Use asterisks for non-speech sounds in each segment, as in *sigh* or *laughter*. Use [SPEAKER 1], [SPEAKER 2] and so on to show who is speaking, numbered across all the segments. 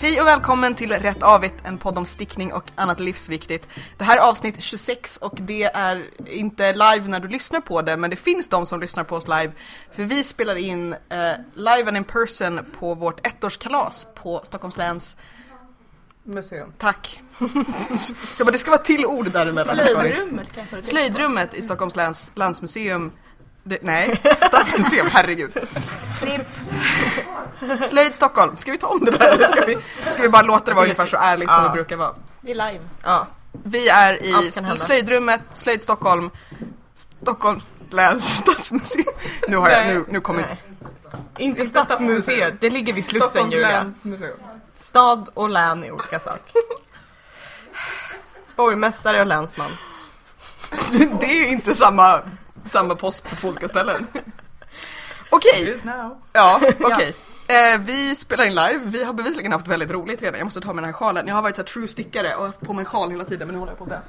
[SPEAKER 1] Hej och välkommen till Rätt Avigt, en podd om stickning och annat livsviktigt. Det här är avsnitt 26 och det är inte live när du lyssnar på det, men det finns de som lyssnar på oss live. För vi spelar in eh, live and in person på vårt ettårskalas på Stockholms läns
[SPEAKER 2] Museum.
[SPEAKER 1] Tack. *laughs* Jag bara, det ska vara till ord däremellan.
[SPEAKER 3] Slöjdrummet kanske det
[SPEAKER 1] Slöjdrummet i Stockholms läns landsmuseum det, nej, *laughs* Stadsmuseum, herregud. Slöjd Stockholm, ska vi ta om det där eller ska vi, ska vi bara låta det vara ungefär så ärligt som det brukar vara?
[SPEAKER 3] Det är lime.
[SPEAKER 1] Ja. Vi är i
[SPEAKER 3] Allt kan hända.
[SPEAKER 1] slöjdrummet, Slöjd Stockholm, Stockholms läns stadsmuseum. Nu har jag,
[SPEAKER 2] Nej.
[SPEAKER 1] nu, nu kommer
[SPEAKER 2] Inte
[SPEAKER 3] Stadsmuseet, det ligger vid Slussen
[SPEAKER 2] Stockholms
[SPEAKER 3] Julia.
[SPEAKER 2] läns museum.
[SPEAKER 3] Stad och län är olika
[SPEAKER 2] *laughs*
[SPEAKER 3] saker. Borgmästare och länsman.
[SPEAKER 1] *laughs* Det är inte samma, samma post på två olika ställen. Okej, *laughs* ja, okej. Eh, vi spelar in live, vi har bevisligen haft väldigt roligt redan. Jag måste ta med den här sjalen. Jag har varit så här true stickare och haft på mig en sjal hela tiden men nu håller jag på det.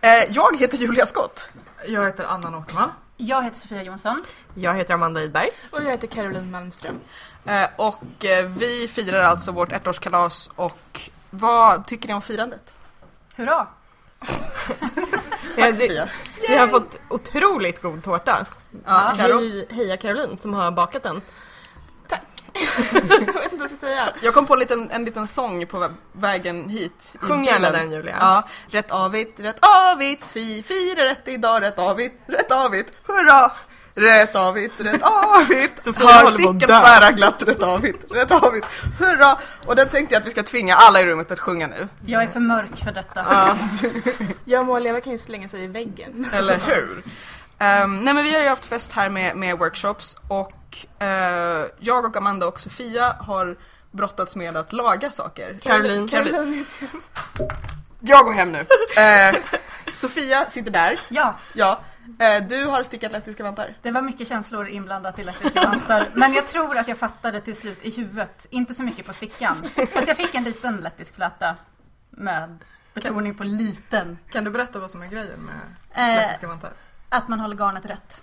[SPEAKER 1] Eh, jag heter Julia Skott.
[SPEAKER 2] Jag heter Anna Nortman.
[SPEAKER 4] Jag heter Sofia Jonsson.
[SPEAKER 3] Jag heter Amanda Idberg.
[SPEAKER 4] Och jag heter Caroline Malmström.
[SPEAKER 1] Eh, och eh, vi firar alltså vårt ettårskalas och vad tycker ni om firandet?
[SPEAKER 5] *laughs*
[SPEAKER 4] Hurra!
[SPEAKER 3] Eh,
[SPEAKER 1] Tack
[SPEAKER 3] Vi,
[SPEAKER 1] Sofia.
[SPEAKER 3] vi har fått otroligt god tårta.
[SPEAKER 1] Ja, Karo.
[SPEAKER 3] Hej, heja Caroline som har bakat den.
[SPEAKER 4] jag vet inte vad jag ska säga.
[SPEAKER 1] Jag kom på en liten, en liten sång på vä- vägen hit. i
[SPEAKER 3] Sjung gärna
[SPEAKER 1] bilen.
[SPEAKER 3] den Julia.
[SPEAKER 1] Ja, rätt avigt, rätt avigt, fi, fira rätt idag, rätt avigt, rätt avigt, hurra! Rätt avigt, rätt
[SPEAKER 3] *laughs*
[SPEAKER 1] avigt,
[SPEAKER 3] Sofia håller på
[SPEAKER 1] hör
[SPEAKER 3] att
[SPEAKER 1] sticken
[SPEAKER 3] dö.
[SPEAKER 1] svära glatt, rätt avigt, rätt avigt, hurra! Och den tänkte jag att vi ska tvinga alla i rummet att sjunga nu.
[SPEAKER 4] Jag är för mörk för detta.
[SPEAKER 5] Jag må leva kan ju slänga sig i väggen.
[SPEAKER 3] *laughs*
[SPEAKER 1] Eller hur? Ehm, nej men vi har ju haft fest här med, med workshops och eh, jag och Amanda och Sofia har brottats med att laga saker.
[SPEAKER 3] Caroline.
[SPEAKER 5] Caroline heter jag.
[SPEAKER 1] Jag går hem *laughs* nu. Eh, Sofia sitter där.
[SPEAKER 4] Ja,
[SPEAKER 1] Ja. Eh, du har stickat lettiska vantar.
[SPEAKER 4] det var mycket känslor inblandat i elektriska vantar. Men jag tror att jag fattade till slut i huvudet. Inte så mycket på stickan. Fast jag fick en liten lettisk fläta. Med betoning på liten.
[SPEAKER 2] Kan du berätta vad som är grejen med
[SPEAKER 4] Eh,
[SPEAKER 2] lettiska vantar?
[SPEAKER 4] att man håller garnet rätt.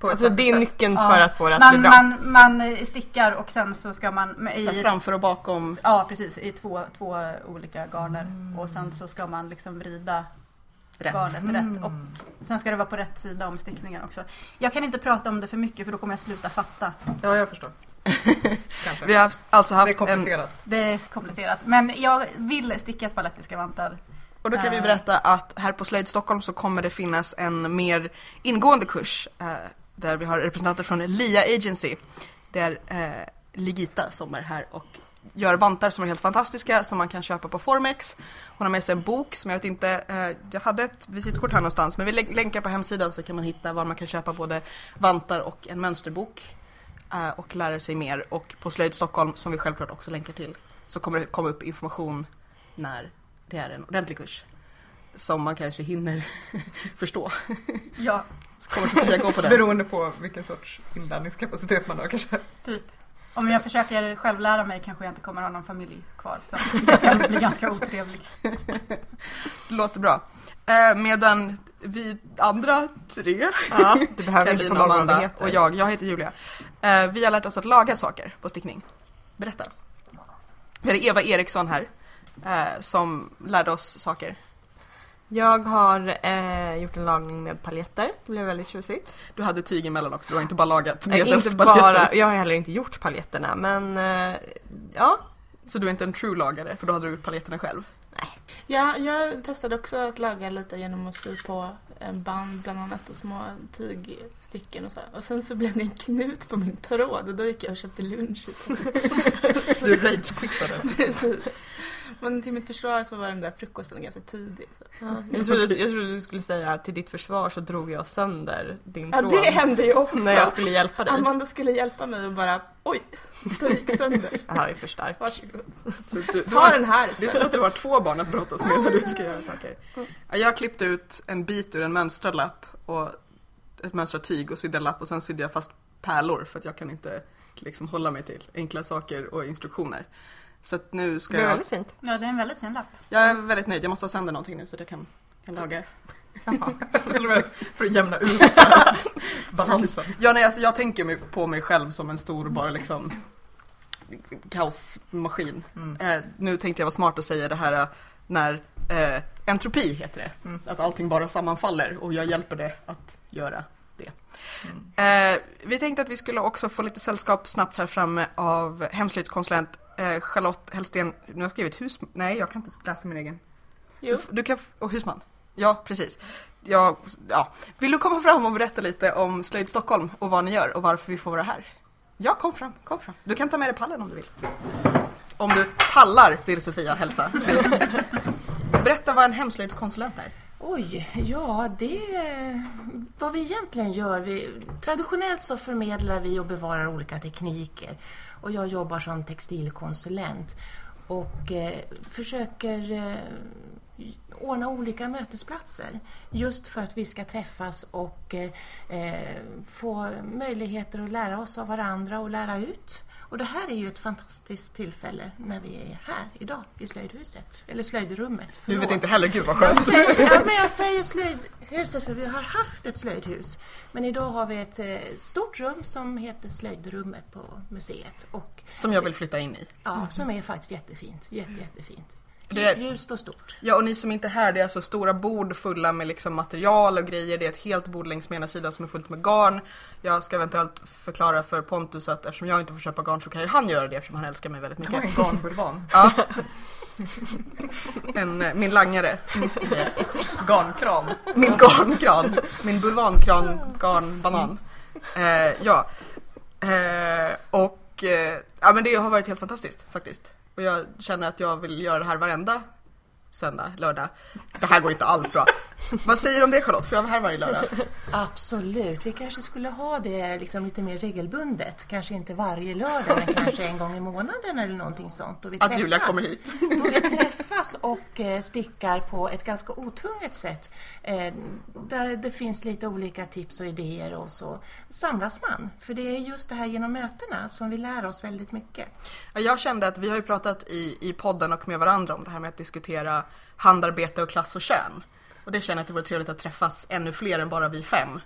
[SPEAKER 2] På ett
[SPEAKER 3] Alltså
[SPEAKER 2] sätt.
[SPEAKER 3] det är nyckeln
[SPEAKER 4] Ja.
[SPEAKER 3] för att få det att bli
[SPEAKER 4] Man,
[SPEAKER 3] bra.
[SPEAKER 4] man, man eh, stickar och sen så ska man... med-
[SPEAKER 1] Så här
[SPEAKER 4] I,
[SPEAKER 1] framför och bakom.
[SPEAKER 4] ja precis, i två, två olika garner. Och sen så ska man liksom vrida
[SPEAKER 1] Rätt.
[SPEAKER 4] garnet rätt. Och Sen ska det vara på rätt sida om stickningen också. Jag kan inte prata om det för mycket för då kommer jag sluta fatta.
[SPEAKER 2] Ja,
[SPEAKER 3] *laughs*
[SPEAKER 2] jag förstår. Kanske.
[SPEAKER 1] Vi har haft- alltså
[SPEAKER 2] det är
[SPEAKER 1] haft en...
[SPEAKER 2] komplicerat.
[SPEAKER 4] Det är så komplicerat. Men jag vill sticka spalettiska vantar.
[SPEAKER 1] Och då kan vi
[SPEAKER 4] Eh.
[SPEAKER 1] berätta att här på Slöjd Stockholm så kommer det finnas en mer ingående kurs eh, där vi har representanter från LIA Agency. Det är eh, Ligita som är här och gör vantar som är helt fantastiska som man kan köpa på Formex. Hon har med sig en bok som jag vet inte, eh, jag hade ett visitkort här någonstans men vi län- länkar på hemsidan så kan man hitta var man kan köpa både vantar och en mönsterbok eh, och lära sig mer. Och på Slöjd Stockholm, som vi självklart också länkar till, så kommer det komma upp information när det är en ordentlig kurs. Som man kanske hinner *laughs* förstå.
[SPEAKER 4] Ja,
[SPEAKER 1] Så kommer Sofia gå på
[SPEAKER 3] *laughs*
[SPEAKER 1] den.
[SPEAKER 2] Beroende på vilken sorts inlärningskapacitet man har kanske.
[SPEAKER 4] typ. Om jag försöker självlära mig kanske jag inte kommer ha någon familj kvar. *laughs* Så jag kan bli ganska otrevlig.
[SPEAKER 1] Det låter bra. Eh, medan vi andra tre,
[SPEAKER 3] Ja, *laughs* du behöver inte
[SPEAKER 1] Caroline,
[SPEAKER 3] komma ihåg vad det
[SPEAKER 1] Amanda
[SPEAKER 3] heter.
[SPEAKER 1] och jag, jag heter Julia, eh, vi har lärt oss att laga saker på stickning. Berätta. Vi hade Eva Eriksson här eh, som lärde oss saker.
[SPEAKER 3] Jag har eh, gjort en lagning med paljetter. Det blev väldigt tjusigt.
[SPEAKER 1] Du hade tyg emellan också, du har inte bara lagat
[SPEAKER 3] Eh, inte
[SPEAKER 1] medelst paljetter.
[SPEAKER 3] bara, jag har heller inte gjort paljetterna men eh, ja.
[SPEAKER 1] Så du är inte en true lagare för då hade du gjort paljetterna själv.
[SPEAKER 5] Ja, jag testade också att laga lite genom att sy på en band bland annat och små tygstycken och så. Och sen så blev det en knut på min tråd och då gick jag och köpte lunch.
[SPEAKER 1] Du ragequittades.
[SPEAKER 5] Precis. Men till mitt försvar så var den där frukosten ganska tidig. Så.
[SPEAKER 3] Jag trodde, jag trodde du skulle säga att till ditt försvar så drog jag sönder din
[SPEAKER 5] Ja,
[SPEAKER 3] tråd
[SPEAKER 5] det hände ju också.
[SPEAKER 3] när jag skulle hjälpa dig.
[SPEAKER 5] Amanda skulle hjälpa mig och bara oj, den gick sönder.
[SPEAKER 3] Det här är för starkt.
[SPEAKER 5] Varsågod.
[SPEAKER 1] Så du, du
[SPEAKER 5] Ta
[SPEAKER 1] har,
[SPEAKER 5] den här
[SPEAKER 1] det är
[SPEAKER 5] istället.
[SPEAKER 1] som att du har två barn att brottas med när du ska göra saker. Ja, Jag klippte ut en bit ur en mönstrad lapp och ett mönstrat tyg och sydde en lapp och sen sydde jag fast pärlor för att jag kan inte liksom hålla mig till enkla saker och instruktioner. Så att nu
[SPEAKER 3] Det
[SPEAKER 1] ska
[SPEAKER 3] blev
[SPEAKER 1] jag...
[SPEAKER 3] väldigt fint.
[SPEAKER 4] Ja, det är en väldigt fin lapp.
[SPEAKER 1] Jag
[SPEAKER 2] Mm.
[SPEAKER 1] är väldigt nöjd, jag måste ha sönder någonting nu så att jag kan, kan
[SPEAKER 2] *laughs*
[SPEAKER 1] laga.
[SPEAKER 2] Jaha. Jag trodde det var för att
[SPEAKER 1] *laughs*
[SPEAKER 2] jämna ut så här balansen.
[SPEAKER 1] Ja, nej, alltså, jag tänker mig på mig själv som en stor bara liksom kaosmaskin.
[SPEAKER 2] Mm.
[SPEAKER 1] Eh, nu tänkte jag vara smart och säga det här eh, när eh, entropi heter det.
[SPEAKER 2] Mm.
[SPEAKER 1] Att allting bara sammanfaller och jag hjälper det att göra det.
[SPEAKER 2] Mm.
[SPEAKER 1] Eh, vi tänkte att vi skulle också få lite sällskap snabbt här framme av hemslöjdskonsulent eh, Charlotte Hellsten. Nu har jag skrivit Husman. Nej, jag kan inte läsa min egen.
[SPEAKER 5] Jo.
[SPEAKER 1] Du, du kan, f- och Husman. Ja, precis. Ja, ja. Vill du komma fram och berätta lite om Slöjd Stockholm och vad ni gör och varför vi får vara här? Ja, kom fram, kom fram. Du kan ta med dig pallen om du vill. Om du pallar vill Sofia hälsa. Berätta vad en hemslöjdskonsulent är.
[SPEAKER 6] Oj, ja det är vad vi egentligen gör. Vi, traditionellt så förmedlar vi och bevarar olika tekniker och jag jobbar som textilkonsulent och eh, försöker eh, ordna olika mötesplatser just för att vi ska träffas och eh, eh, få möjligheter att lära oss av varandra och lära ut. Och det här är ju ett fantastiskt tillfälle när vi är här idag i Slöjdhuset, eller Slöjdrummet.
[SPEAKER 1] Du vet
[SPEAKER 6] förlåt.
[SPEAKER 1] inte heller, gud vad
[SPEAKER 6] Jag *laughs*
[SPEAKER 1] skönt.
[SPEAKER 6] säger, ja, men jag säger slöjdhuset för vi har haft ett slöjdhus. Men idag har vi ett eh, stort rum som heter slöjdrummet på museet. Och,
[SPEAKER 1] Som jag vill flytta in i.
[SPEAKER 6] ja, Som är faktiskt jättefint. Jätte, jättefint.
[SPEAKER 1] Det-
[SPEAKER 6] Ljust och stort.
[SPEAKER 1] Ja, och ni som inte är här, det är alltså stora bord fulla med liksom material och grejer. Det är ett helt bord längs med ena sidan som är fullt med garn. Jag ska eventuellt förklara för Pontus att eftersom jag inte får köpa garn så kan ju han göra det eftersom han älskar mig väldigt mycket.
[SPEAKER 2] Jag är en garnbulvan.
[SPEAKER 1] Ja. *laughs* En, eh, min langare.
[SPEAKER 2] Garnkram.
[SPEAKER 1] Min garnkran. Min bulvankran, garnbanan. Eh, ja. Eh, och eh, ja, men det har varit helt fantastiskt faktiskt. Och jag känner att jag vill göra det här varenda söndag, lördag. Det här går inte alls bra. Vad säger du om det Charlotte? Får jag vara här varje lördag?
[SPEAKER 6] Absolut. Vi kanske skulle ha det liksom lite mer regelbundet. Kanske inte varje lördag, men kanske en gång i månaden eller någonting sånt. Och vi
[SPEAKER 1] Att Julia
[SPEAKER 6] träffas.
[SPEAKER 1] kommer hit.
[SPEAKER 6] *laughs* Då vi träffas och eh, stickar på ett ganska otvunget sätt eh, där det finns lite olika tips och idéer och så samlas man. För det är just det här genom mötena som vi lär oss väldigt mycket.
[SPEAKER 1] Ja, Jag kände att vi har ju pratat i, i podden och med varandra om det här med att diskutera handarbete och klass och kön. Och det känner jag att det vore trevligt att träffas ännu fler än bara vi fem.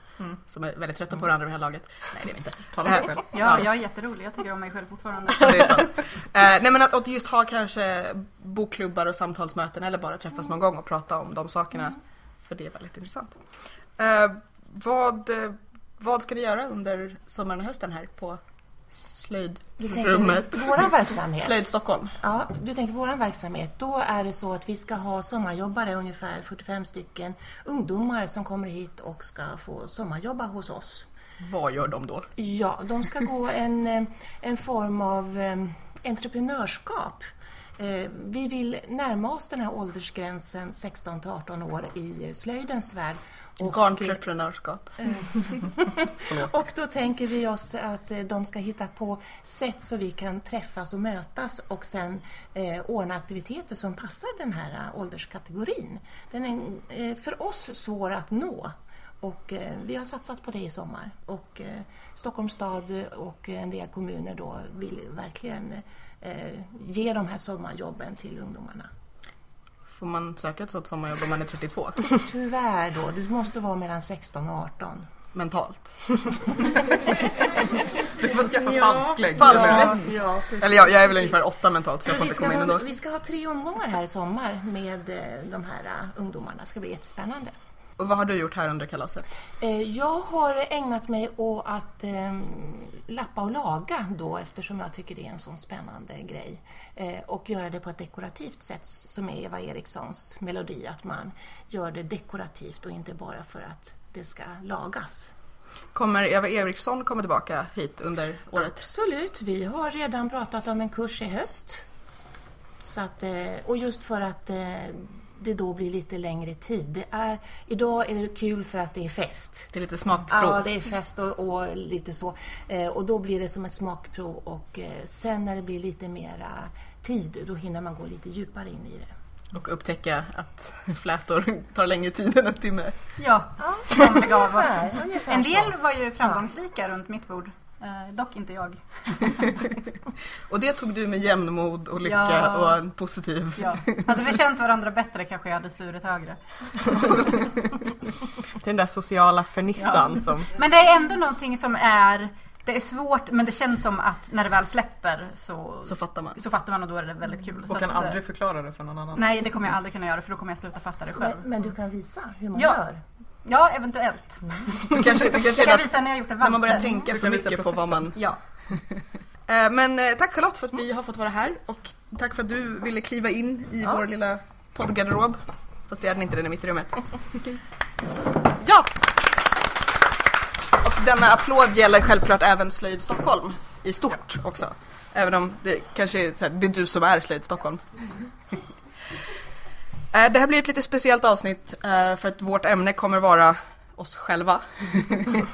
[SPEAKER 1] Som är väldigt trötta på varandra vid det här laget. Nej det är vi inte.
[SPEAKER 2] Mm.
[SPEAKER 1] Eh,
[SPEAKER 2] Tala om dig själv.
[SPEAKER 4] Ja, jag är jätterolig. Jag tycker om mig själv fortfarande.
[SPEAKER 1] Ja, *laughs* Det är sant. Eh, nej men att, att just ha kanske bokklubbar och samtalsmöten eller bara träffas någon gång och prata om de sakerna.
[SPEAKER 6] Mm.
[SPEAKER 1] För det är väldigt intressant. Eh, vad, eh, vad ska ni göra under sommaren och hösten här på
[SPEAKER 6] Vi
[SPEAKER 1] slöjdrummet?
[SPEAKER 6] tänker
[SPEAKER 1] *laughs*
[SPEAKER 6] vår verksamhet.
[SPEAKER 1] Slöjd Stockholm.
[SPEAKER 6] Ja, du tänker vår verksamhet. Då är det så att vi ska ha sommarjobbare, ungefär 45 stycken ungdomar som kommer hit och ska få sommarjobba hos oss.
[SPEAKER 1] Vad gör de då?
[SPEAKER 6] Ja, de ska gå en, eh, en form av eh, entreprenörskap. Eh, Vi vill närma oss den här åldersgränsen 16 till 18 år i slöjdens värld. Och, eh,
[SPEAKER 1] Garntreprenörskap.
[SPEAKER 6] och då tänker vi oss att eh, de ska hitta på sätt så vi kan träffas och mötas och sen eh, ordna aktiviteter som passar den här eh, ålderskategorin. Den är eh, för oss svår att nå och eh, vi har satsat på det i sommar. Och eh, Stockholms stad och en del kommuner då vill verkligen eh, ge de här sommarjobben till ungdomarna.
[SPEAKER 1] Får man söka ett sådant sommarjobb om man är
[SPEAKER 6] *laughs*
[SPEAKER 1] 32?
[SPEAKER 6] Tyvärr då, du måste vara mellan 16 och 18. *laughs*
[SPEAKER 1] Mentalt.
[SPEAKER 2] Du får skaffa
[SPEAKER 5] Ja.
[SPEAKER 2] falsklägg.
[SPEAKER 1] Falsklägg.
[SPEAKER 5] Ja, precis.
[SPEAKER 1] Eller jag, jag är väl ungefär åtta mentalt så jag
[SPEAKER 6] Så
[SPEAKER 1] får
[SPEAKER 6] vi,
[SPEAKER 1] inte
[SPEAKER 6] ska
[SPEAKER 1] komma in
[SPEAKER 6] ha,
[SPEAKER 1] ändå.
[SPEAKER 6] vi ska ha tre omgångar här i sommar med eh, de här eh, ungdomarna. Det ska bli jättespännande.
[SPEAKER 1] Och vad har du gjort här under kalaset?
[SPEAKER 6] Eh, Jag har ägnat mig åt att eh, lappa och laga då eftersom jag tycker det är en sån spännande grej. Eh, och göra det på ett dekorativt sätt som är Eva Erikssons melodi, att man gör det dekorativt och inte bara för att det ska lagas.
[SPEAKER 1] Kommer Eva Eriksson komma tillbaka hit under året?
[SPEAKER 6] Absolut, vi har redan pratat om en kurs i höst. Så att, eh, och just för att eh, det då blir lite längre tid. Det är, idag är det kul för att det är fest.
[SPEAKER 1] Det är lite smakprov.
[SPEAKER 6] Ja, det är fest och, och lite så. Eh, och då blir det som ett smakprov och eh, sen när det blir lite mera tid, då hinner man gå lite djupare in i det.
[SPEAKER 1] Och upptäcka att flätor tar längre tid än en timme.
[SPEAKER 4] Ja, som begav oss.
[SPEAKER 6] Ungefär, ungefär
[SPEAKER 4] En
[SPEAKER 6] så.
[SPEAKER 4] del var ju framgångsrika runt mitt bord. Eh, dock inte jag.
[SPEAKER 1] Och det tog du med jämnmod och lycka
[SPEAKER 4] Ja.
[SPEAKER 1] och en positiv.
[SPEAKER 4] Ja. *laughs* Hade vi känt varandra bättre kanske jag hade svurit högre.
[SPEAKER 3] Den där sociala förnissan som...
[SPEAKER 4] Men det är ändå någonting som är Det är svårt men det känns som att när det väl släpper så,
[SPEAKER 1] Så
[SPEAKER 4] så,
[SPEAKER 1] fattar man.
[SPEAKER 4] fattar man och då är det väldigt kul. Så
[SPEAKER 2] Och kan
[SPEAKER 4] att, eh,
[SPEAKER 2] aldrig förklara det för någon annan.
[SPEAKER 4] Nej det kommer jag aldrig kunna göra för då kommer jag sluta fatta det
[SPEAKER 6] Men,
[SPEAKER 4] själv.
[SPEAKER 6] men du kan visa hur man
[SPEAKER 4] Ja.
[SPEAKER 6] gör.
[SPEAKER 4] Ja eventuellt.
[SPEAKER 1] Det kanske, det kanske
[SPEAKER 4] Jag
[SPEAKER 1] är
[SPEAKER 4] kan
[SPEAKER 1] att,
[SPEAKER 4] visa när jag gjort en
[SPEAKER 1] när Mm. man börjar
[SPEAKER 4] vante.
[SPEAKER 1] tänka
[SPEAKER 2] Du
[SPEAKER 1] för
[SPEAKER 2] kan visa
[SPEAKER 1] mycket på vad man...
[SPEAKER 4] Ja.
[SPEAKER 1] Eh, Men eh, tack Charlotte för att vi har fått vara här och tack för att du ville kliva in i vår lilla poddgarderob. Fast det är den inte, den är mitt i rummet. Ja! Och denna applåd gäller självklart även Slöjd Stockholm i stort också. Även om det kanske är, så här, det är du som är Slöjd Stockholm. *laughs* Eh, Det här blir ett lite speciellt avsnitt eh, för att vårt ämne kommer vara oss
[SPEAKER 3] *laughs*
[SPEAKER 1] själva.
[SPEAKER 3] Vi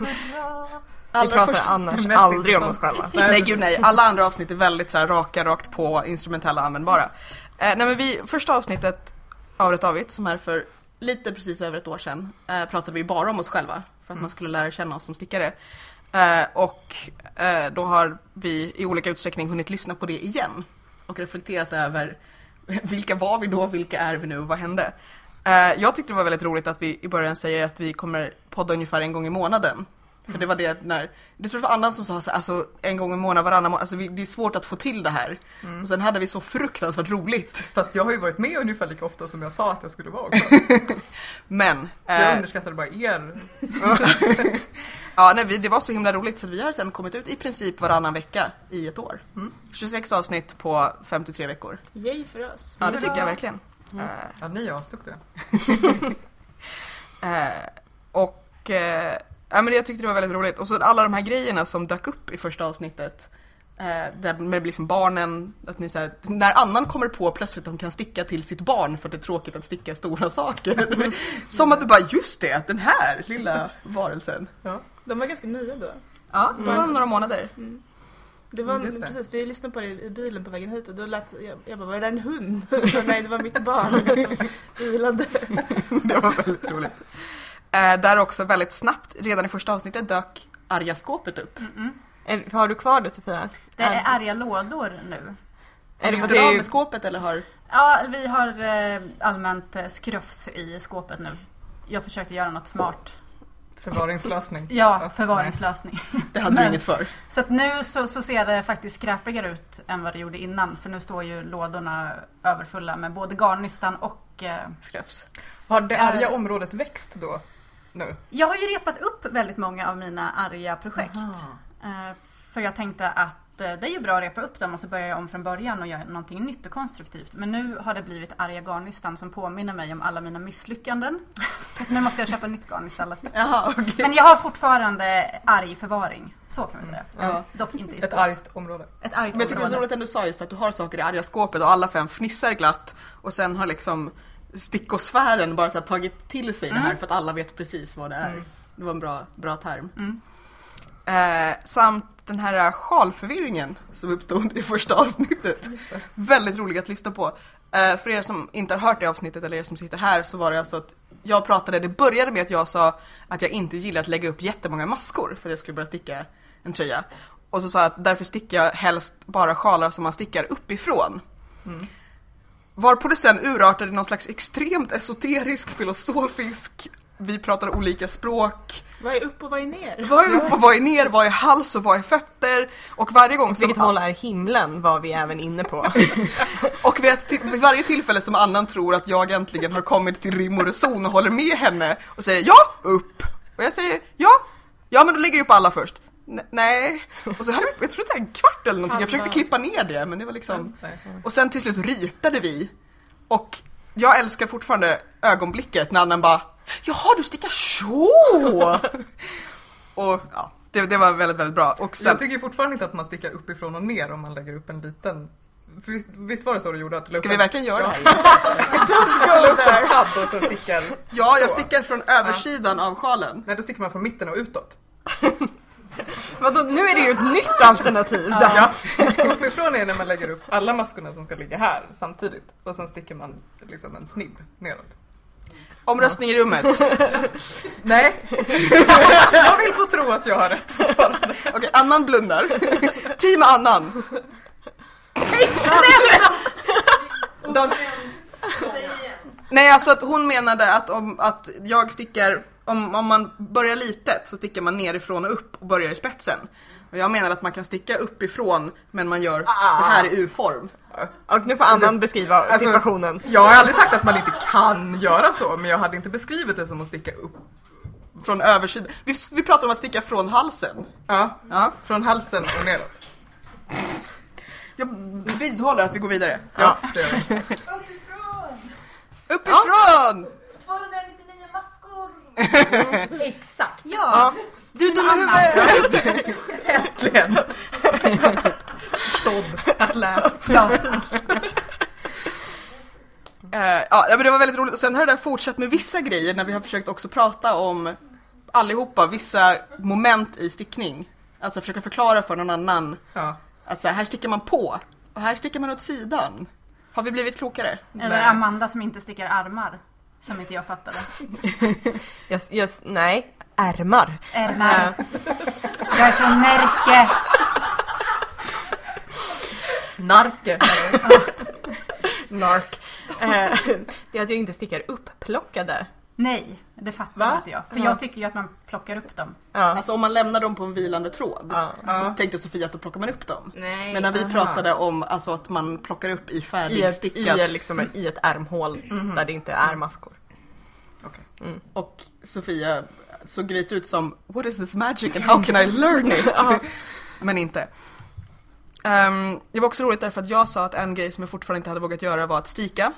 [SPEAKER 3] pratar
[SPEAKER 1] först-
[SPEAKER 3] annars
[SPEAKER 2] mest
[SPEAKER 3] aldrig om oss
[SPEAKER 2] intressant.
[SPEAKER 3] själva.
[SPEAKER 1] Nej, gud nej. Alla andra avsnitt är väldigt så här, raka, rakt på, instrumentella och användbara. Eh, nej men vi, första avsnittet av Rätt Avigt som är för lite precis över ett år sedan eh, pratade vi bara om oss själva för att
[SPEAKER 3] Mm.
[SPEAKER 1] man skulle lära känna oss som stickare. Eh, och eh, då har vi i olika utsträckning hunnit lyssna på det igen och reflekterat över *laughs* vilka var vi då, vilka är vi nu och vad hände? Eh, jag tyckte det var väldigt roligt att vi i början säger att vi kommer podda ungefär en gång i månaden. För det var det att när, det tror jag var annan som sa så, här, alltså en gång i månaden, varannan månad, alltså vi, det är svårt att få till det här. Och sen hade vi så fruktansvärt roligt.
[SPEAKER 2] Fast jag har ju varit med ungefär lika ofta som jag sa att jag skulle vara också.
[SPEAKER 1] Men,
[SPEAKER 2] Jag
[SPEAKER 1] eh,
[SPEAKER 2] underskattade bara er.
[SPEAKER 1] *laughs* ja, nej, vi, det var så himla roligt så vi har sen kommit ut i princip varannan vecka i ett år. 26 avsnitt på 53 veckor.
[SPEAKER 5] Yay för oss.
[SPEAKER 1] Ja det tycker jag verkligen. Eh,
[SPEAKER 2] Ja, ni är asduktiga.
[SPEAKER 1] Eh, och eh, ja, men jag tyckte det var väldigt roligt. Och så alla de här grejerna som dök upp i första avsnittet. Eh, där med liksom barnen, att ni så här, när annan kommer på plötsligt att de kan sticka till sitt barn för att det är tråkigt att sticka stora *laughs* saker. som att du bara, just det, den här lilla varelsen. Mm.
[SPEAKER 5] De var ganska nya då. Mm.
[SPEAKER 1] Ja, då var de några månader.
[SPEAKER 5] Det var,
[SPEAKER 2] Mm, just det.
[SPEAKER 5] Precis, vi lyssnade på det i i bilen på vägen hit och då lät jag, jag bara, var det där en hund? *laughs* Så, Nej, det var mitt barn.
[SPEAKER 1] *laughs*
[SPEAKER 5] Vilade.
[SPEAKER 1] *laughs* det var väldigt roligt. Eh, där också väldigt snabbt, redan i första avsnittet dök arga skåpet upp.
[SPEAKER 3] Är- Har du kvar det Sofia?
[SPEAKER 4] Det är arga lådor nu.
[SPEAKER 1] Är det
[SPEAKER 3] Är det
[SPEAKER 1] för
[SPEAKER 3] för
[SPEAKER 1] att du
[SPEAKER 3] det är
[SPEAKER 1] av
[SPEAKER 3] ju-
[SPEAKER 1] med skåpet eller har...
[SPEAKER 4] Ja, vi har eh, allmänt eh, skrufs i skåpet nu. Jag försökte göra något smart.
[SPEAKER 2] Förvaringslösning.
[SPEAKER 4] Ja, förvaringslösning.
[SPEAKER 1] Det hade du
[SPEAKER 4] Men-
[SPEAKER 1] inget för.
[SPEAKER 4] Så att nu så, så ser det faktiskt skräpigare ut än vad det gjorde innan. För nu står ju lådorna överfulla med både garnnystan och... Eh,
[SPEAKER 1] Skröfs.
[SPEAKER 2] Har det arga
[SPEAKER 1] Eh.
[SPEAKER 2] området växt då? Nu?
[SPEAKER 4] jag har ju repat upp väldigt många av mina arga projekt. Eh, för jag tänkte att eh, det är ju bra att repa upp dem och så börjar jag om från början och gör någonting nytt och konstruktivt. Men nu har det blivit arga garnnystan som påminner mig om alla
[SPEAKER 1] *laughs*
[SPEAKER 4] mina misslyckanden. Så att nu måste jag köpa nytt garn istället.
[SPEAKER 1] Jaha,
[SPEAKER 2] *laughs*
[SPEAKER 1] okej.
[SPEAKER 4] Men jag har fortfarande arg förvaring. Så kan man säga.
[SPEAKER 1] Ja.
[SPEAKER 4] Dock inte i
[SPEAKER 2] Ett
[SPEAKER 4] skåp.
[SPEAKER 2] argt område.
[SPEAKER 4] Ett argt
[SPEAKER 1] Men jag tycker det är så
[SPEAKER 4] område.
[SPEAKER 1] roligt att du sa just att du har saker i arga skåpet och alla fem fnissar glatt och sen har liksom stickosfären bara så här tagit till sig
[SPEAKER 2] Mm.
[SPEAKER 1] det här för att alla vet precis vad det är. Det var en bra, bra term.
[SPEAKER 2] Mm.
[SPEAKER 1] Eh, samt den här eh, sjalförvirringen som uppstod i första avsnittet. Väldigt rolig att lyssna på. Eh, för er som inte har hört det avsnittet eller er som sitter här så var det alltså att jag pratade, det började med att jag sa att jag inte gillar att lägga upp jättemånga maskor för att jag skulle börja sticka en tröja. Och så sa jag att därför stickar jag helst bara sjalar som man stickar uppifrån. Mm. Varpå det sen urartade i någon slags extremt esoterisk, filosofisk, vi pratar olika språk.
[SPEAKER 5] Vad är upp och vad är ner?
[SPEAKER 1] Vad är upp och vad är ner? Vad är hals och vad är fötter? Och varje gång som...
[SPEAKER 3] Vilket håll är himlen var vi även inne på.
[SPEAKER 1] Och vid, ett, till- vid varje tillfälle som annan tror att jag äntligen har kommit till rim och reson och håller med henne och säger ja, upp. Och jag säger ja, ja men då lägger du upp alla först. N- nej. Och så hade vi, jag tror det var en kvart eller någonting, jag försökte klippa ner det men det var liksom.
[SPEAKER 2] Alltså. Nej.
[SPEAKER 1] Och sen till slut ritade vi. Och jag älskar fortfarande ögonblicket när annan bara Jaha, du stickar så! och ja, det, det var väldigt, väldigt bra. Och sen,
[SPEAKER 2] *laughs* Jag tycker fortfarande inte att man stickar uppifrån och ner om man lägger upp en liten... För Visst, visst var det så du gjorde? Att du la
[SPEAKER 1] ska
[SPEAKER 2] upp
[SPEAKER 1] vi
[SPEAKER 2] en-
[SPEAKER 1] verkligen göra det här?
[SPEAKER 2] *laughs* Ja, la upp en tabb och sen stickar...
[SPEAKER 1] Ja, jag
[SPEAKER 2] Så.
[SPEAKER 1] stickar från översidan av sjalen.
[SPEAKER 2] Nej, då sticker man från mitten och utåt.
[SPEAKER 3] *laughs* Vadå, nu är det ju ett nytt alternativ där.
[SPEAKER 2] Ja. Uppifrån är när man lägger upp alla maskorna som ska ligga här samtidigt och sen sticker man liksom en snibb neråt.
[SPEAKER 1] Omröstning i rummet. Okej, *laughs*
[SPEAKER 2] Nej! jag vill få tro att jag har rätt.
[SPEAKER 1] annan blundar. Team annan. De... Nej, alltså att hon menade att, om, att jag stickar om, om man börjar litet så stickar man nerifrån och upp och börjar i spetsen. Och jag menar att man kan sticka uppifrån men man gör så här i U-form.
[SPEAKER 3] Och nu får Annan beskriva
[SPEAKER 2] Alltså-
[SPEAKER 3] situationen.
[SPEAKER 2] Jag har aldrig sagt att man inte kan göra så, men jag hade inte beskrivit det som att sticka upp.
[SPEAKER 1] Från översidan. Vi, vi pratar om att sticka från halsen.
[SPEAKER 2] Ja,
[SPEAKER 1] Ja.
[SPEAKER 2] från halsen och neråt.
[SPEAKER 1] Jag vidhåller att vi går vidare.
[SPEAKER 2] Ja, det gör vi.
[SPEAKER 1] Uppifrån!
[SPEAKER 7] 299 maskor!
[SPEAKER 4] Exakt.
[SPEAKER 1] Ja. Du är dum i huvudet!
[SPEAKER 2] Äntligen! Förstådd,
[SPEAKER 4] *laughs*
[SPEAKER 2] at last.
[SPEAKER 1] *laughs*
[SPEAKER 2] Ja.
[SPEAKER 1] Eh, ja, men det var väldigt roligt. Och sen har det där fortsatt med vissa grejer när vi har försökt också prata om allihopa, vissa moment i stickning. Alltså försöka förklara för någon annan
[SPEAKER 2] Ja.
[SPEAKER 1] att så här, här stickar man på och här stickar man åt sidan. Har vi blivit klokare?
[SPEAKER 4] Eller
[SPEAKER 2] Nej.
[SPEAKER 4] Amanda som inte stickar armar. Som inte
[SPEAKER 1] *laughs*
[SPEAKER 4] jag fattade.
[SPEAKER 3] Yes, yes, nej, ärmar.
[SPEAKER 4] Ärmar. Jag är från Närke.
[SPEAKER 2] Narke.
[SPEAKER 3] Nark. *laughs* Eh, det att jag inte stickar upplockade.
[SPEAKER 4] Nej, det fattar
[SPEAKER 3] Va?
[SPEAKER 4] inte jag. För
[SPEAKER 3] Ja.
[SPEAKER 4] jag tycker ju att man plockar upp dem.
[SPEAKER 3] Ja.
[SPEAKER 1] Alltså om man lämnar dem på en vilande tråd
[SPEAKER 3] Ja.
[SPEAKER 2] Ja.
[SPEAKER 1] så tänkte Sofia att då plockar man upp dem.
[SPEAKER 5] Nej.
[SPEAKER 1] Men när vi
[SPEAKER 2] aha.
[SPEAKER 1] pratade om alltså, att man plockar upp i
[SPEAKER 3] I, ett,
[SPEAKER 1] färdigstickat
[SPEAKER 3] i, liksom, I ett ärmhål
[SPEAKER 2] Mhm.
[SPEAKER 3] där det inte är maskor.
[SPEAKER 1] och Sofia såg lite ut som What is this magic and how can I learn *laughs* it? Men inte. Ehm, det var också roligt därför att jag sa att en grej som jag fortfarande inte hade vågat göra var att stika.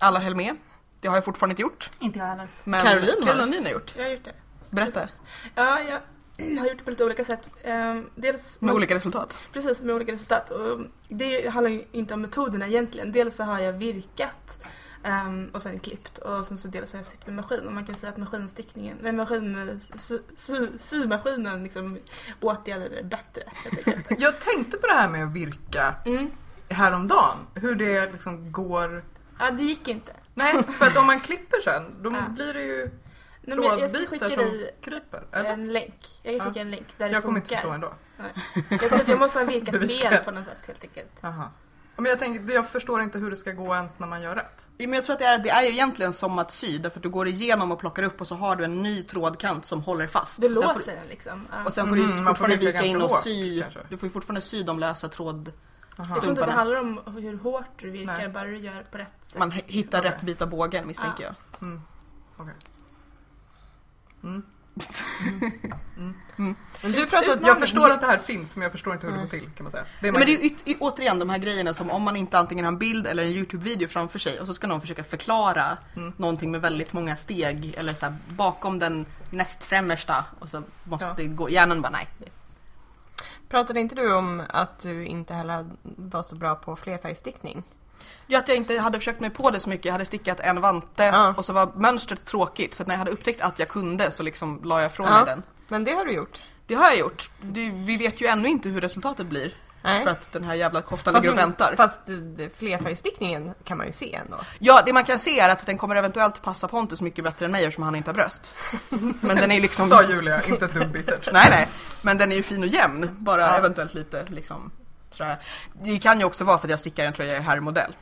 [SPEAKER 1] Alla höll med. Det har jag fortfarande inte gjort.
[SPEAKER 4] Inte jag heller.
[SPEAKER 1] Men
[SPEAKER 3] Caroline har.
[SPEAKER 1] Caroline har gjort.
[SPEAKER 5] Jag har gjort det.
[SPEAKER 1] Berätta.
[SPEAKER 5] Ja, jag *clears throat* har gjort det på lite olika sätt. Ehm, Dels
[SPEAKER 1] Med olika resultat.
[SPEAKER 5] Precis, med olika resultat. Och det handlar ju inte om metoderna egentligen. Dels så har jag virkat ehm, och sen klippt och sen så dels har jag sytt med maskin. Och man kan säga att maskinstickningen, nej maskin, sy, sy, symaskinen liksom åtgärdade det bättre. helt
[SPEAKER 2] *laughs*
[SPEAKER 5] enkelt.
[SPEAKER 2] Jag tänkte på det här med att virka häromdagen. Hur det liksom går...
[SPEAKER 5] ja, det gick inte.
[SPEAKER 2] Nej, för att om man klipper sen, då
[SPEAKER 5] Ja.
[SPEAKER 2] blir det ju
[SPEAKER 5] Nej, men jag ska skicka
[SPEAKER 2] trådbitar som
[SPEAKER 5] dig
[SPEAKER 2] kryper.
[SPEAKER 3] Eh,
[SPEAKER 2] Eller?
[SPEAKER 5] en länk. Jag kan
[SPEAKER 2] Ja.
[SPEAKER 5] skicka en länk där det
[SPEAKER 2] Jag kommer inte
[SPEAKER 5] funkar.
[SPEAKER 2] förstå ändå.
[SPEAKER 5] jag tror att jag måste
[SPEAKER 2] *laughs*
[SPEAKER 5] ha virkat
[SPEAKER 2] Bevisa.
[SPEAKER 5] mer på något sätt helt enkelt.
[SPEAKER 2] Aha. Men jag, tänker, jag förstår inte hur det ska gå ens när man gör rätt.
[SPEAKER 1] Ja, Men jag tror att det är, det är ju egentligen som att sy därför att du går igenom och plockar upp och så har du en ny trådkant som håller fast.
[SPEAKER 5] Du
[SPEAKER 1] Och sen får-
[SPEAKER 5] låser den liksom. Ja.
[SPEAKER 1] Och sen får du ju
[SPEAKER 2] Mm, man får
[SPEAKER 1] fortfarande
[SPEAKER 2] virka
[SPEAKER 1] vika in och
[SPEAKER 2] ganska hårt,
[SPEAKER 1] sy.
[SPEAKER 2] kanske.
[SPEAKER 1] Du får ju fortfarande sy de lösa tråd...
[SPEAKER 5] jag tror inte det
[SPEAKER 1] stumparna.
[SPEAKER 5] handlar om hur hårt du virkar,
[SPEAKER 2] Nej.
[SPEAKER 5] bara du gör på rätt sätt.
[SPEAKER 1] Man h- hittar rätt bit av bågen misstänker jag.
[SPEAKER 2] Mm. Okej.
[SPEAKER 3] Men du pratade
[SPEAKER 2] Jag förstår att det här finns men jag förstår inte hur det går till kan man säga. Mm. Det är
[SPEAKER 1] Nej, men det är
[SPEAKER 2] magi.
[SPEAKER 1] ju yt- y- återigen de här grejerna som om man inte antingen har en bild eller en Youtube-video framför sig och så ska någon försöka förklara någonting med väldigt många steg eller så här, bakom den näst främmersta och så måste
[SPEAKER 2] Ja.
[SPEAKER 1] det gå, hjärnan bara nej.
[SPEAKER 3] Pratade inte du om att du inte heller var så bra på flerfärgstickning?
[SPEAKER 1] Ja, att jag inte hade försökt mig på det så mycket. Jag hade stickat en vante
[SPEAKER 3] Ja.
[SPEAKER 1] och så var mönstret tråkigt så att när jag hade upptäckt att jag kunde så liksom la jag ifrån
[SPEAKER 3] Ja.
[SPEAKER 1] mig den.
[SPEAKER 3] Men det har du gjort.
[SPEAKER 1] Det har jag gjort. Det, vi vet ju ännu inte hur resultatet blir
[SPEAKER 3] Nej.
[SPEAKER 1] för att den här jävla koftan
[SPEAKER 3] Fast-
[SPEAKER 1] ligger och väntar.
[SPEAKER 3] Fast eh, det- flerfärgstickningen kan man ju se ändå.
[SPEAKER 1] Ja, det man kan se är att den kommer eventuellt passa Pontus mycket bättre än mig eftersom han inte har
[SPEAKER 2] *laughs*
[SPEAKER 1] bröst. Men den är liksom...
[SPEAKER 2] Sa Julia, inte ett dugg bittert.
[SPEAKER 1] *laughs* Nej, nej. Men den är ju fin och jämn. Bara
[SPEAKER 3] Ja.
[SPEAKER 1] eventuellt lite liksom sådär. Det kan ju också vara för att jag stickar en tröja i herrmodell.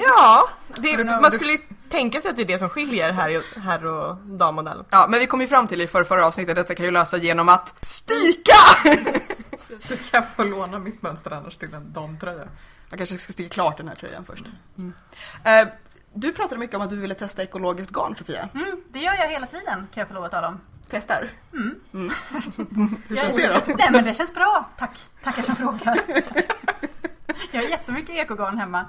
[SPEAKER 3] Ja, det,
[SPEAKER 2] Men,
[SPEAKER 3] man
[SPEAKER 2] du-
[SPEAKER 3] skulle ju tänka sig att det är det som skiljer herr, herr och dammodellen.
[SPEAKER 1] Ja, men vi kom ju fram till i förra, förra avsnittet att detta kan ju lösa genom att stika!
[SPEAKER 2] *laughs* Du kan få låna mitt mönster annars till en Mm. damtröja.
[SPEAKER 1] Jag kanske ska sticka klart den här tröjan först. Eh, du pratade mycket om att du ville testa ekologiskt garn, Sofia.
[SPEAKER 4] Mm, det gör jag hela tiden kan jag få lov att tala om.
[SPEAKER 1] Testar.
[SPEAKER 4] Mm.
[SPEAKER 1] Mm. Hur känns det då?
[SPEAKER 4] Nej men det känns bra. Tack. Tackar som frågar. Jag har jättemycket ekogarn hemma.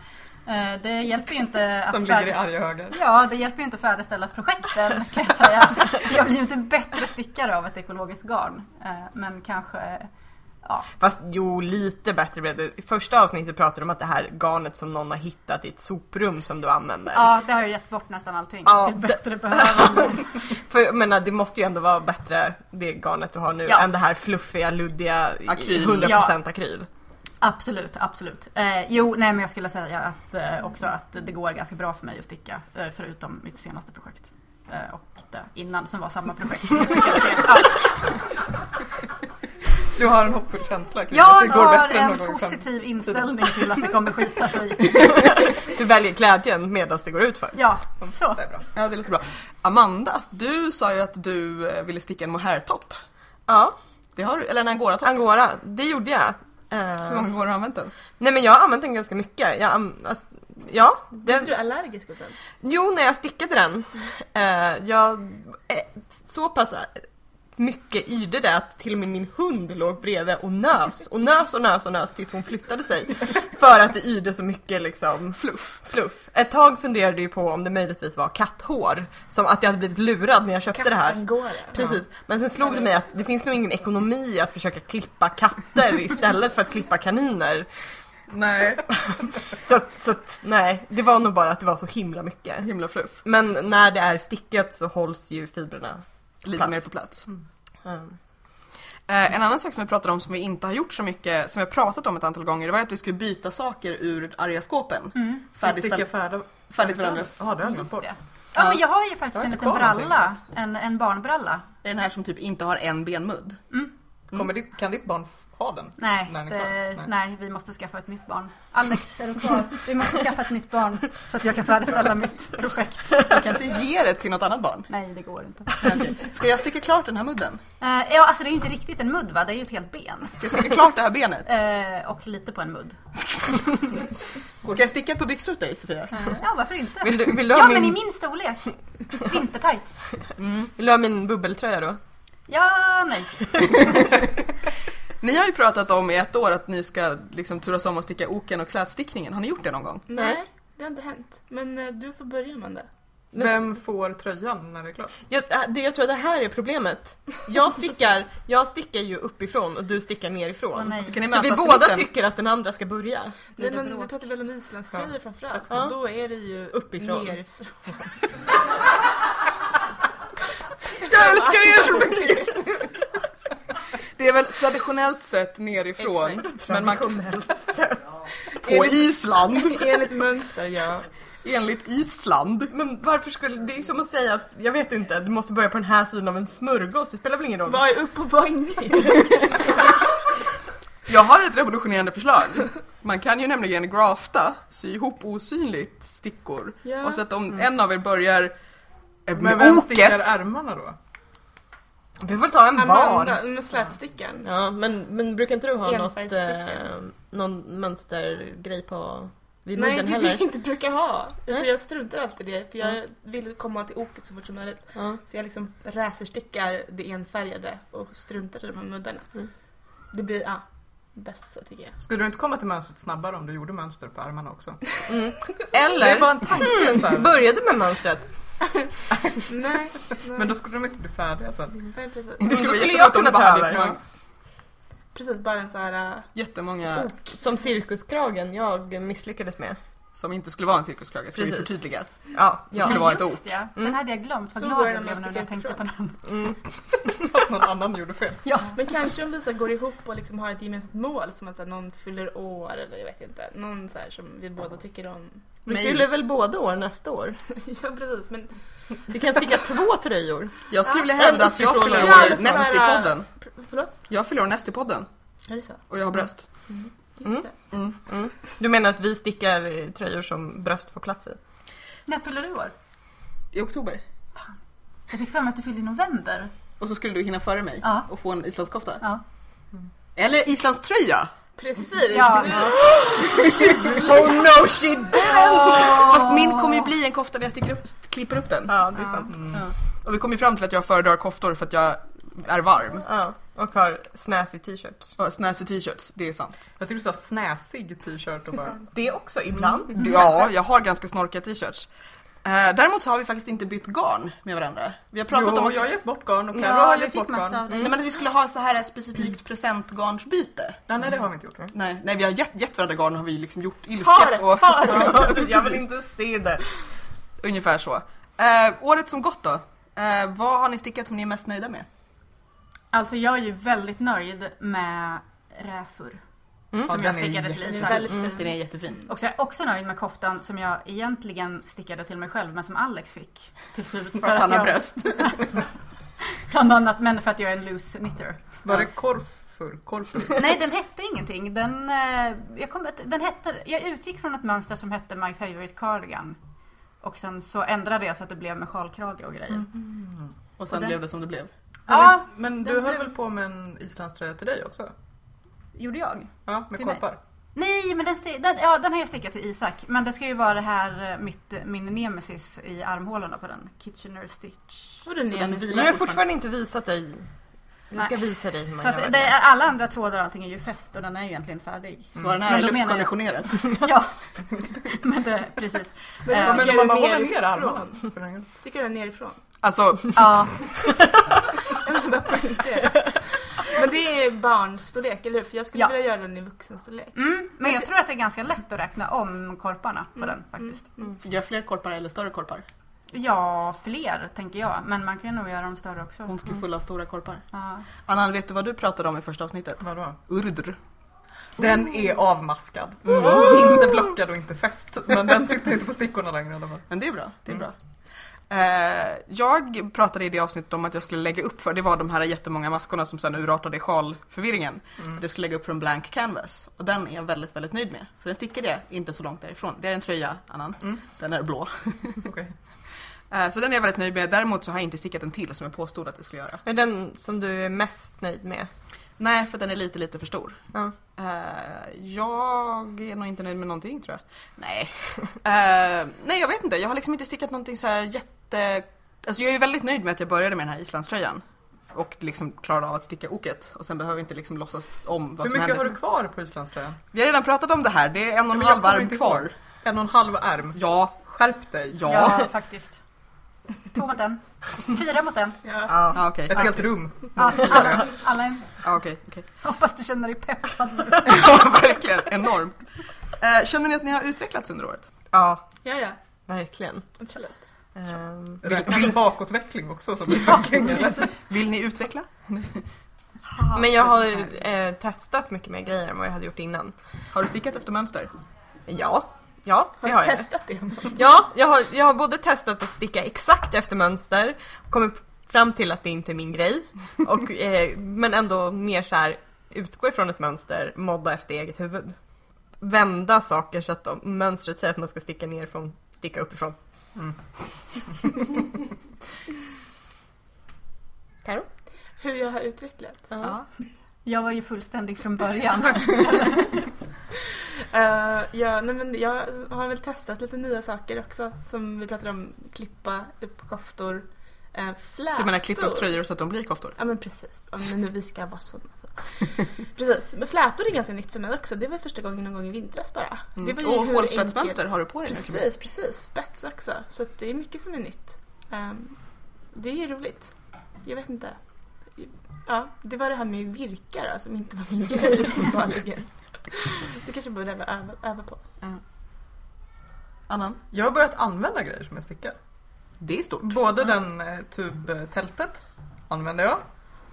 [SPEAKER 4] Eh, Det hjälper ju inte att
[SPEAKER 2] Som
[SPEAKER 4] färd-
[SPEAKER 2] ligger i arga högar.
[SPEAKER 4] Ja, det hjälper ju inte att färdigställa projekten kan jag säga. Jag blir ju inte bättre stickare av ett ekologiskt garn. Eh, Men kanske, ja.
[SPEAKER 3] Fast jo, lite bättre blev det. I första avsnittet pratade du om att det här garnet som någon har hittat i ett soprum som du använder.
[SPEAKER 4] Ja, det har jag gett bort nästan allting
[SPEAKER 3] Ja,
[SPEAKER 4] till bättre behövande.
[SPEAKER 3] För jag menar, det måste ju ändå vara bättre det garnet du har nu
[SPEAKER 4] Ja.
[SPEAKER 3] än det här fluffiga, luddiga, i-
[SPEAKER 1] Akryl.
[SPEAKER 3] 100%
[SPEAKER 4] Ja.
[SPEAKER 3] akryl.
[SPEAKER 4] Absolut, absolut. Eh, jo, nej men jag skulle säga att, eh, också att det går ganska bra för mig att sticka. Eh, förutom mitt senaste projekt.
[SPEAKER 2] *laughs*
[SPEAKER 4] Eh, och det innan som var samma projekt. Ja.
[SPEAKER 2] Du har en hoppfull känsla kring att
[SPEAKER 4] Jag
[SPEAKER 2] det går
[SPEAKER 4] har
[SPEAKER 2] bättre än
[SPEAKER 4] en
[SPEAKER 2] någon gång fram.
[SPEAKER 4] positiv inställning till att det kommer skita
[SPEAKER 2] *laughs*
[SPEAKER 4] sig.
[SPEAKER 3] Du väljer glädjen medan det går ut för.
[SPEAKER 4] Ja, så.
[SPEAKER 2] Det är bra.
[SPEAKER 1] Ja, det låter bra. Amanda, du sa ju att du eh, ville sticka en mohairtopp.
[SPEAKER 3] Ja,
[SPEAKER 1] Det har du, eller en angoratopp.
[SPEAKER 3] angora, det gjorde jag. Eh,
[SPEAKER 1] Hur många gånger har du använt den?
[SPEAKER 3] Nej men jag har använt den ganska mycket. Jag, an- alltså, ja,
[SPEAKER 5] Är du
[SPEAKER 3] det,
[SPEAKER 5] allergisk mot den?
[SPEAKER 3] jo när jag stickade den. Eh, jag, eh, så pass mycket yrde det att till och med min hund låg bredvid och nös och nös och nös och nös tills hon flyttade sig. För att det yrde så mycket liksom
[SPEAKER 1] Fluff.
[SPEAKER 3] fluff. Ett tag funderade jag ju på om det möjligtvis var katthår. Som att jag hade blivit lurad när jag köpte det här.
[SPEAKER 5] Kattangora.
[SPEAKER 3] Precis, men sen slog det mig att det finns nog ingen ekonomi i att försöka klippa katter istället för att klippa kaniner.
[SPEAKER 1] Nej.
[SPEAKER 3] *laughs* Så att, så att, nej, det var nog bara att det var så himla mycket.
[SPEAKER 1] Himla fluff.
[SPEAKER 3] Men när det är stickat så hålls ju fibrerna.
[SPEAKER 1] Lite
[SPEAKER 3] Plats.
[SPEAKER 1] mer på plats.
[SPEAKER 3] Mm.
[SPEAKER 1] Eh, en annan sak som vi pratade om som vi inte har gjort så mycket, som vi har pratat om ett antal gånger, det var att vi skulle byta saker ur arga skåpen. Mm.
[SPEAKER 2] Vi sticker färda.
[SPEAKER 1] Färdigt varandras.
[SPEAKER 2] Ja, det har jag glömt
[SPEAKER 4] Just
[SPEAKER 2] bort.
[SPEAKER 4] det. Ja, men jag har ju faktiskt
[SPEAKER 2] Jag har
[SPEAKER 4] en
[SPEAKER 2] inte
[SPEAKER 4] liten
[SPEAKER 2] kvar någonting.
[SPEAKER 4] bralla, en, en barnbralla.
[SPEAKER 1] Är den här som typ inte har en benmudd?
[SPEAKER 2] Kommer ditt, kan ditt barn ha den?
[SPEAKER 4] Nej,
[SPEAKER 2] När ni är
[SPEAKER 4] det,
[SPEAKER 2] klara.
[SPEAKER 4] nej. vi måste skaffa ett nytt barn. Alex, är du kvar? Vi måste skaffa ett nytt barn så att jag kan färdigställa mitt projekt.
[SPEAKER 1] Jag kan inte ge det till något annat barn.
[SPEAKER 4] Nej, det går
[SPEAKER 2] *laughs*
[SPEAKER 4] inte.
[SPEAKER 1] Okej. Ska jag sticka klart den här mudden?
[SPEAKER 4] Eh, ja, alltså det är ju inte riktigt en mudd va? Det är ju ett helt ben.
[SPEAKER 1] Ska jag sticka klart det här benet?
[SPEAKER 4] Eh, och lite på en mudd.
[SPEAKER 1] Ska jag sticka ett par byxor åt dig Sofia?
[SPEAKER 4] Eh, ja, varför inte?
[SPEAKER 3] Mm. Vill, du, vill,
[SPEAKER 4] *laughs*
[SPEAKER 3] du ha
[SPEAKER 4] Ja, men i
[SPEAKER 3] min,
[SPEAKER 4] min storlek. Vintertights.
[SPEAKER 2] Mm.
[SPEAKER 3] vill du ha min bubbeltröja då?
[SPEAKER 4] Ja, nej.
[SPEAKER 1] Ni har ju pratat om i ett år att ni ska liksom turas om att sticka oken och slätstickningen. Har ni gjort det någon gång?
[SPEAKER 5] Nej, det har inte hänt. Men eh, du får börja Amanda.
[SPEAKER 2] Vem får tröjan när det är klart?
[SPEAKER 3] Jag, äh, det, jag tror att det här är problemet. Jag
[SPEAKER 4] *laughs*
[SPEAKER 3] stickar, jag stickar ju uppifrån och du stickar nerifrån.
[SPEAKER 4] Åh, nej.
[SPEAKER 1] Så kan ni
[SPEAKER 3] Så vi
[SPEAKER 1] mötas i
[SPEAKER 3] båda
[SPEAKER 1] mitten.
[SPEAKER 3] tycker att den andra ska börja.
[SPEAKER 5] Nej
[SPEAKER 4] det
[SPEAKER 5] men
[SPEAKER 4] bråk?
[SPEAKER 5] vi pratar väl om islandströjor framförallt.
[SPEAKER 3] Ja.
[SPEAKER 5] Då är det ju
[SPEAKER 3] Uppifrån.
[SPEAKER 5] nerifrån.
[SPEAKER 1] Jag älskar er så mycket just nu! Det är väl traditionellt sett nerifrån. Men man kan, *laughs* på
[SPEAKER 5] Enligt,
[SPEAKER 1] Island!
[SPEAKER 5] enligt mönster ja.
[SPEAKER 1] Enligt Island.
[SPEAKER 3] Men varför skulle, det är som att säga att, jag vet inte, du måste börja på den här sidan av en smörgås, det spelar väl ingen roll?
[SPEAKER 5] Vad är upp och vad är ner?
[SPEAKER 1] Jag har ett revolutionerande förslag. Man kan ju nämligen grafta, sy ihop osynligt stickor.
[SPEAKER 5] Ja.
[SPEAKER 1] Och så att om en av er börjar eh,
[SPEAKER 2] Mm. Men
[SPEAKER 1] med
[SPEAKER 2] vem stickar
[SPEAKER 1] oket.
[SPEAKER 2] ärmarna då?
[SPEAKER 3] Du behöver väl ta en var?
[SPEAKER 5] Amanda, med slätstickaren.
[SPEAKER 3] Ja, men, men brukar inte du ha något,
[SPEAKER 5] Enfärgsstickor.
[SPEAKER 3] eh, någon mönstergrej på vid
[SPEAKER 5] Nej
[SPEAKER 3] midjan
[SPEAKER 5] det är det
[SPEAKER 3] heller?
[SPEAKER 5] jag inte brukar ha. Utan
[SPEAKER 3] Nej.
[SPEAKER 5] jag struntar alltid i det för jag vill komma till oket så fort som möjligt.
[SPEAKER 3] Ja.
[SPEAKER 5] Så jag liksom racerstickar det enfärgade och struntar i de här muddarna.
[SPEAKER 3] Mm.
[SPEAKER 5] Det blir, ja, bäst så
[SPEAKER 1] *laughs*
[SPEAKER 5] tycker jag.
[SPEAKER 2] Skulle du inte komma till mönstret snabbare om du gjorde mönster på ärmarna också? Det
[SPEAKER 3] Eller Hmm,
[SPEAKER 2] är bara en tanke
[SPEAKER 1] Mm.
[SPEAKER 2] så här.
[SPEAKER 3] började med mönstret.
[SPEAKER 5] Nej, nej.
[SPEAKER 2] Men då skulle de inte bli färdiga sen.
[SPEAKER 5] Nej, precis.
[SPEAKER 1] Det skulle
[SPEAKER 3] Då
[SPEAKER 1] vara
[SPEAKER 3] skulle
[SPEAKER 1] jätteroligt
[SPEAKER 3] jag
[SPEAKER 1] om det
[SPEAKER 3] kunna
[SPEAKER 1] bara
[SPEAKER 3] ta
[SPEAKER 1] hade
[SPEAKER 3] över.
[SPEAKER 1] jättemånga,
[SPEAKER 5] Precis, bara en så här... äh,
[SPEAKER 1] jättemånga
[SPEAKER 3] Som cirkuskragen jag misslyckades med.
[SPEAKER 1] som inte skulle vara en cirkuskrage. Ska vi
[SPEAKER 3] Precis.
[SPEAKER 1] förtydliga?
[SPEAKER 3] Ja,
[SPEAKER 1] Det
[SPEAKER 3] ja.
[SPEAKER 1] skulle vara ett
[SPEAKER 4] Just ja. Den
[SPEAKER 3] Mm.
[SPEAKER 4] hade jag glömt. Vad
[SPEAKER 5] Så
[SPEAKER 4] glad
[SPEAKER 5] går den
[SPEAKER 4] jag blev
[SPEAKER 5] måste
[SPEAKER 4] när jag tänkte på
[SPEAKER 5] ifrån.
[SPEAKER 4] den.
[SPEAKER 3] *laughs* Mm.
[SPEAKER 2] Att någon annan gjorde fel.
[SPEAKER 5] Men kanske om vi så här går ihop och liksom har ett gemensamt mål som att så här, någon fyller år eller jag vet inte. Någon så här som vi båda tycker om.
[SPEAKER 3] Vi
[SPEAKER 1] Nej.
[SPEAKER 3] fyller väl båda år nästa år?
[SPEAKER 5] ja precis men
[SPEAKER 3] Vi kan sticka två tröjor.
[SPEAKER 1] Jag skulle vilja
[SPEAKER 3] Ja.
[SPEAKER 1] hävda att jag
[SPEAKER 3] Utifrån
[SPEAKER 1] fyller
[SPEAKER 5] och- Ja,
[SPEAKER 1] år näst i
[SPEAKER 5] för-
[SPEAKER 1] podden.
[SPEAKER 5] pr- förlåt?
[SPEAKER 1] Jag fyller år näst i podden
[SPEAKER 5] Är det så?
[SPEAKER 1] och jag har bröst.
[SPEAKER 5] Just
[SPEAKER 3] Mm.
[SPEAKER 5] det.
[SPEAKER 1] Mm.
[SPEAKER 3] Du menar att vi stickar eh, tröjor som bröst får plats i?
[SPEAKER 4] När fyller du år?
[SPEAKER 1] I oktober.
[SPEAKER 4] Jag fick för mig att du fyllde i november.
[SPEAKER 1] Och så skulle du hinna före mig
[SPEAKER 4] Ja.
[SPEAKER 1] och få en islandskofta.
[SPEAKER 4] Ja.
[SPEAKER 1] Eller islandströja!
[SPEAKER 5] Precis!
[SPEAKER 4] *laughs* Ja.
[SPEAKER 3] Oh no she didn't!
[SPEAKER 1] Fast min kommer ju bli en kofta när jag sticker upp, klipper upp den.
[SPEAKER 3] Ja, Mm. det är sant.
[SPEAKER 1] Och vi kom ju fram till att jag föredrar koftor för att jag är varm.
[SPEAKER 3] Ja, och har snäsig t-shirt.
[SPEAKER 1] Och snäsig t-shirts, det är sant.
[SPEAKER 2] Jag tyckte du sa snäsig t-shirt och bara...
[SPEAKER 3] Det också ibland.
[SPEAKER 1] Ja, jag har ganska snorkiga t-shirts. Eh, Däremot så har vi faktiskt inte bytt garn med varandra. Vi har pratat
[SPEAKER 2] jo,
[SPEAKER 1] om att
[SPEAKER 2] jag har
[SPEAKER 1] jag...
[SPEAKER 2] gett bort garn och Carro
[SPEAKER 4] Ja,
[SPEAKER 2] har
[SPEAKER 4] vi
[SPEAKER 2] gett
[SPEAKER 4] fick
[SPEAKER 2] bort garn.
[SPEAKER 4] massa av dig.
[SPEAKER 1] Nej men att vi skulle ha så här ett specifikt presentgarnsbyte.
[SPEAKER 2] Ja, nej, det har vi inte gjort. *laughs*
[SPEAKER 1] Nej, nej vi har gett, gett varandra garn har vi liksom gjort
[SPEAKER 5] Ta det,
[SPEAKER 1] ilsket och
[SPEAKER 5] ta det!
[SPEAKER 1] *laughs*
[SPEAKER 3] Jag vill inte se det.
[SPEAKER 1] ungefär så. Eh, året som gått då? Eh, vad har ni stickat som ni är mest nöjda
[SPEAKER 4] Mm.
[SPEAKER 1] med?
[SPEAKER 4] Alltså jag är ju väldigt nöjd med räfur.
[SPEAKER 2] Ja,
[SPEAKER 4] Som
[SPEAKER 2] den
[SPEAKER 4] jag
[SPEAKER 2] är
[SPEAKER 4] stickade till
[SPEAKER 2] jätte-
[SPEAKER 4] Lisa.
[SPEAKER 1] Mm. Den är jättefin.
[SPEAKER 4] Och så är jag också nöjd med koftan som jag egentligen stickade till mig själv men som Alex fick till slut.
[SPEAKER 1] *laughs* För
[SPEAKER 4] *laughs*
[SPEAKER 1] att han har
[SPEAKER 4] jag,
[SPEAKER 1] bröst.
[SPEAKER 4] Bland annat, men för att jag är en loose knitter.
[SPEAKER 2] Var det korf furkorpen.
[SPEAKER 4] Nej, den hette ingenting. Den, eh, jag, kom, den hette, jag utgick från ett mönster som hette My Favorite Cardigan. Och sen så ändrade jag så att det blev med sjalkrage och
[SPEAKER 1] Mm.
[SPEAKER 4] grejer.
[SPEAKER 1] Och sen
[SPEAKER 4] Och den-
[SPEAKER 1] blev det som det blev.
[SPEAKER 4] Mm-hmm. Ja,
[SPEAKER 2] men men du
[SPEAKER 4] den
[SPEAKER 2] höll
[SPEAKER 4] blev-
[SPEAKER 2] väl på med en islandströja till dig också?
[SPEAKER 4] Gjorde jag?
[SPEAKER 2] Ja, med
[SPEAKER 4] Till mig.
[SPEAKER 2] korpar.
[SPEAKER 4] Nej, men den, sti- den, ja, den har jag stickat till Isak. Men det ska ju vara det här, eh, mitt, min nemesis i armhålorna på den. Kitchener Stitch.
[SPEAKER 1] Så
[SPEAKER 5] Vadå
[SPEAKER 1] den
[SPEAKER 5] nemesis?
[SPEAKER 1] vilar
[SPEAKER 3] Men jag
[SPEAKER 1] fortfarande.
[SPEAKER 3] har fortfarande inte visat dig. Jag ska visa dig hur man
[SPEAKER 4] Så
[SPEAKER 3] gör
[SPEAKER 4] att det, är- alla andra trådar och allting är ju fäst och den är ju egentligen färdig.
[SPEAKER 1] Så var den
[SPEAKER 4] Mm. Men
[SPEAKER 1] här
[SPEAKER 4] då menar jag-
[SPEAKER 1] luftkonditionerad.
[SPEAKER 4] Ja, *laughs* men det, precis.
[SPEAKER 5] Men
[SPEAKER 4] Eh,
[SPEAKER 5] jag
[SPEAKER 2] Ja, men om
[SPEAKER 5] sticker
[SPEAKER 2] man
[SPEAKER 5] den
[SPEAKER 2] håller ner armarna.
[SPEAKER 5] nerifrån.
[SPEAKER 2] för den-
[SPEAKER 5] Sticker den nerifrån.
[SPEAKER 1] Alltså,
[SPEAKER 4] Ja,
[SPEAKER 5] Jag vill bara poängtera. Men det är barnstorlek, eller hur? För jag skulle
[SPEAKER 4] Ja.
[SPEAKER 5] vilja göra den i vuxenstorlek.
[SPEAKER 4] mm, men jag tror att det är ganska lätt att räkna om korparna på
[SPEAKER 5] Mm.
[SPEAKER 4] den faktiskt.
[SPEAKER 1] gör fler korpar eller större korpar?
[SPEAKER 4] Ja, fler tänker jag. Men man kan ju nog göra dem större också.
[SPEAKER 1] Hon ska fulla stora korpar.
[SPEAKER 4] Ja.
[SPEAKER 1] Annan, vet du vad du pratade om i första avsnittet?
[SPEAKER 2] Vadå?
[SPEAKER 1] Urdr.
[SPEAKER 2] Den är avmaskad.
[SPEAKER 1] Mm.
[SPEAKER 2] Inte blockad och inte fäst. Men den sitter inte på stickorna längre. i alla fall.
[SPEAKER 1] Men det är bra. Det är
[SPEAKER 2] Mm.
[SPEAKER 1] bra. Eh, jag pratade i det avsnittet om att jag skulle lägga upp för, det var de här jättemånga maskorna som sen urartade i sjalförvirringen. Att Jag skulle lägga upp för en blank canvas och den är jag väldigt, väldigt nöjd med. För den stickade jag inte så långt därifrån. Det är en tröja, Annan.
[SPEAKER 2] Mm.
[SPEAKER 1] Den är blå.
[SPEAKER 2] Okej.
[SPEAKER 1] Eh, så den är jag väldigt nöjd med. Däremot så har jag inte stickat en till som jag påstod att jag skulle göra.
[SPEAKER 3] Är den som du är mest nöjd med?
[SPEAKER 1] Nej, för den är lite, lite för stor.
[SPEAKER 3] Ja.
[SPEAKER 1] Eh, jag är nog inte nöjd med någonting tror jag. Nej. *laughs* Eh, nej jag vet inte, jag har liksom inte stickat någonting så här jätte... Alltså jag är ju väldigt nöjd med att jag började med den här islandströjan. Och liksom klarade av att sticka oket och sen behöver vi inte liksom låtsas om vad
[SPEAKER 2] Hur
[SPEAKER 1] som
[SPEAKER 2] mycket
[SPEAKER 1] händer.
[SPEAKER 2] har du kvar på islandströjan?
[SPEAKER 1] Vi har redan pratat om det här, det är en och en
[SPEAKER 2] Men jag
[SPEAKER 1] halv
[SPEAKER 2] kommer
[SPEAKER 1] arm
[SPEAKER 2] inte
[SPEAKER 1] kvar.
[SPEAKER 2] ihåg. En och en halv arm.
[SPEAKER 1] Ja,
[SPEAKER 2] Skärp dig.
[SPEAKER 1] ja. ja.
[SPEAKER 4] Ja, faktiskt. Två mot en. Fyra mot en.
[SPEAKER 5] Ja.
[SPEAKER 1] Ah, okej,
[SPEAKER 2] Ett helt rum.
[SPEAKER 4] Ja, alla, alla en.
[SPEAKER 1] ah, okej. okej. *laughs*
[SPEAKER 4] Hoppas du känner dig peppad.
[SPEAKER 1] ja, verkligen, enormt. Eh, känner ni att ni har utvecklats under året?
[SPEAKER 3] Ja,
[SPEAKER 5] Ja, ja.
[SPEAKER 3] verkligen.
[SPEAKER 5] Absolut.
[SPEAKER 3] Ehm,
[SPEAKER 2] Räknas det bakåtveckling också som utveckling? eller?
[SPEAKER 1] Vill ni utveckla?
[SPEAKER 3] men jag har eh, testat mycket mer grejer än vad jag hade gjort innan.
[SPEAKER 1] Har du stickat efter mönster?
[SPEAKER 3] Ja, ja det har jag.
[SPEAKER 5] testat det?
[SPEAKER 3] Ja, jag har, jag har både testat att sticka exakt efter mönster, kommit fram till att det inte är min grej,
[SPEAKER 2] *laughs*
[SPEAKER 3] och, eh, men ändå mer så här utgå ifrån ett mönster, modda efter eget huvud. Vända saker så att de, mönstret säger att man ska sticka nerifrån, sticka uppifrån. Karo?
[SPEAKER 5] Hur jag har utvecklats?
[SPEAKER 4] Ja. Jag var ju fullständig från början.
[SPEAKER 5] Eh, ja, nej, men jag har väl testat lite nya saker också som vi pratade om. Klippa upp koftor, uh, flätor.
[SPEAKER 1] Du menar klippa upp tröjor så att de blir koftor?
[SPEAKER 5] Ja men precis. Om nu vi ska vara sådana så. precis. Men flätor är ganska nytt för mig också. Det var första gången någon gång i vintras bara. Det var ju
[SPEAKER 1] Mm. Och
[SPEAKER 5] hur
[SPEAKER 1] hålspetsmönster
[SPEAKER 5] enkelt-
[SPEAKER 1] har du på dig nu? Camilla?
[SPEAKER 5] Precis, precis. Spets också. Så att det är mycket som är nytt. Ehm, det är ju roligt. Jag vet inte. Ja, det var det här med virkar då, som inte var min
[SPEAKER 1] *laughs*
[SPEAKER 5] grej uppenbarligen. Det kanske borde jag öva, öva på.
[SPEAKER 1] Annan?
[SPEAKER 2] Jag har börjat använda grejer som jag stickar.
[SPEAKER 1] Det är stort.
[SPEAKER 2] Både den eh, tubtältet använder jag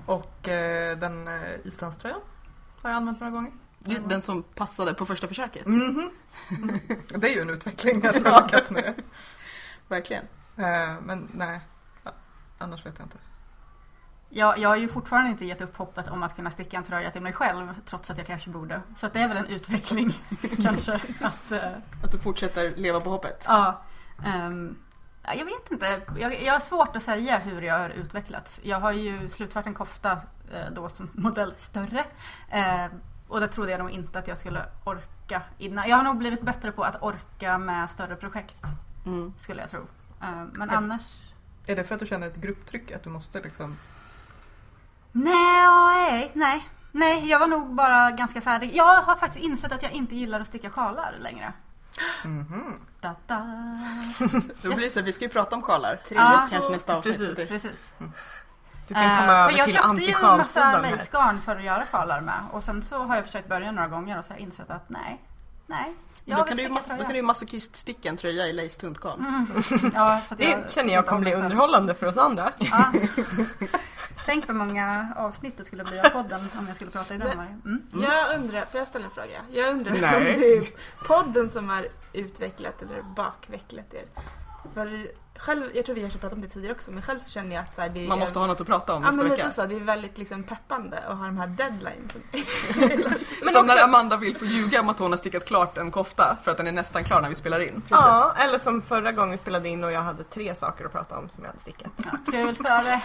[SPEAKER 2] och eh, den eh, islandströjan har jag använt några gånger.
[SPEAKER 1] Det är Den som passade på första
[SPEAKER 4] Typ.
[SPEAKER 1] försöket.
[SPEAKER 2] Mhm.
[SPEAKER 3] Mm-hmm.
[SPEAKER 2] Det är ju
[SPEAKER 4] *laughs*
[SPEAKER 2] en utveckling att jag har lyckats med det.
[SPEAKER 1] Verkligen.
[SPEAKER 2] Eh, Men nej, Ja, annars vet jag inte.
[SPEAKER 4] Jag, jag har ju fortfarande inte gett upp hoppet om att kunna sticka en tröja till mig själv trots att jag kanske borde. Så att det är väl en utveckling *laughs* kanske. Att, eh,
[SPEAKER 1] Att du fortsätter leva på hoppet.
[SPEAKER 4] ja, ehm, ja, jag vet inte. Jag, jag har svårt att säga hur jag har utvecklats. Jag har ju slutfört en kofta eh, då som modell större. Eh, och det trodde jag nog inte att jag skulle orka innan. Jag har nog blivit bättre på att orka med större projekt
[SPEAKER 1] Mm.
[SPEAKER 4] skulle jag tro. Eh, men
[SPEAKER 2] Ja.
[SPEAKER 4] annars
[SPEAKER 2] Är det för att du känner ett grupptryck? Att du måste liksom...
[SPEAKER 4] Nej, nej. Nej, jag var nog bara ganska färdig. Jag har faktiskt insett att jag inte gillar att sticka sjalar längre.
[SPEAKER 3] mm-hmm.
[SPEAKER 2] Mhm.
[SPEAKER 4] Da, da.
[SPEAKER 1] Då blir det så att vi ska ju prata om sjalar.
[SPEAKER 4] Ja.
[SPEAKER 1] Kanske nästa avsnitt.
[SPEAKER 3] Precis.
[SPEAKER 4] Precis.
[SPEAKER 3] Du kan komma
[SPEAKER 4] Eh, för
[SPEAKER 3] över
[SPEAKER 4] jag
[SPEAKER 3] till
[SPEAKER 4] köpte ju en massa
[SPEAKER 3] antisjalsidan här.
[SPEAKER 4] lejsgarn för att göra sjalar med. Och sen så har jag försökt börja några gånger och så har jag insett att nej, nej.
[SPEAKER 1] Men
[SPEAKER 4] Jag
[SPEAKER 1] Då
[SPEAKER 4] vill
[SPEAKER 1] kan, du ju mas-
[SPEAKER 4] sticka
[SPEAKER 1] då kan du
[SPEAKER 4] tröja.
[SPEAKER 1] ju masochist-sticka en tröja i lace tuntgarn.
[SPEAKER 4] Mm. Ja, för att
[SPEAKER 3] Det känner jag kommer bli underhållande för oss andra.
[SPEAKER 4] Mm. Ja. Tänk vad många avsnitt det skulle bli av podden om jag skulle prata i den. varje- Mm.
[SPEAKER 5] Jag undrar, får jag ställa en fråga? Jag undrar
[SPEAKER 1] Nej.
[SPEAKER 5] om det är podden som har utvecklat eller bakvecklat er. För själv, jag tror vi kanske pratat om det tidigare också, men själv så känner jag att så här, det är...
[SPEAKER 1] Man måste ha något att prata om
[SPEAKER 5] Ja
[SPEAKER 1] nästa
[SPEAKER 5] men
[SPEAKER 1] vecka.
[SPEAKER 5] lite så, det är väldigt liksom peppande att ha de här deadlinesen.
[SPEAKER 1] Som när Amanda vill få ljuga om att hon har stickat klart en kofta för att den är nästan klar när vi spelar in.
[SPEAKER 3] Ja, eller som förra gången vi spelade in och jag hade tre saker att prata om som jag hade stickat.
[SPEAKER 4] Ja, kul för det.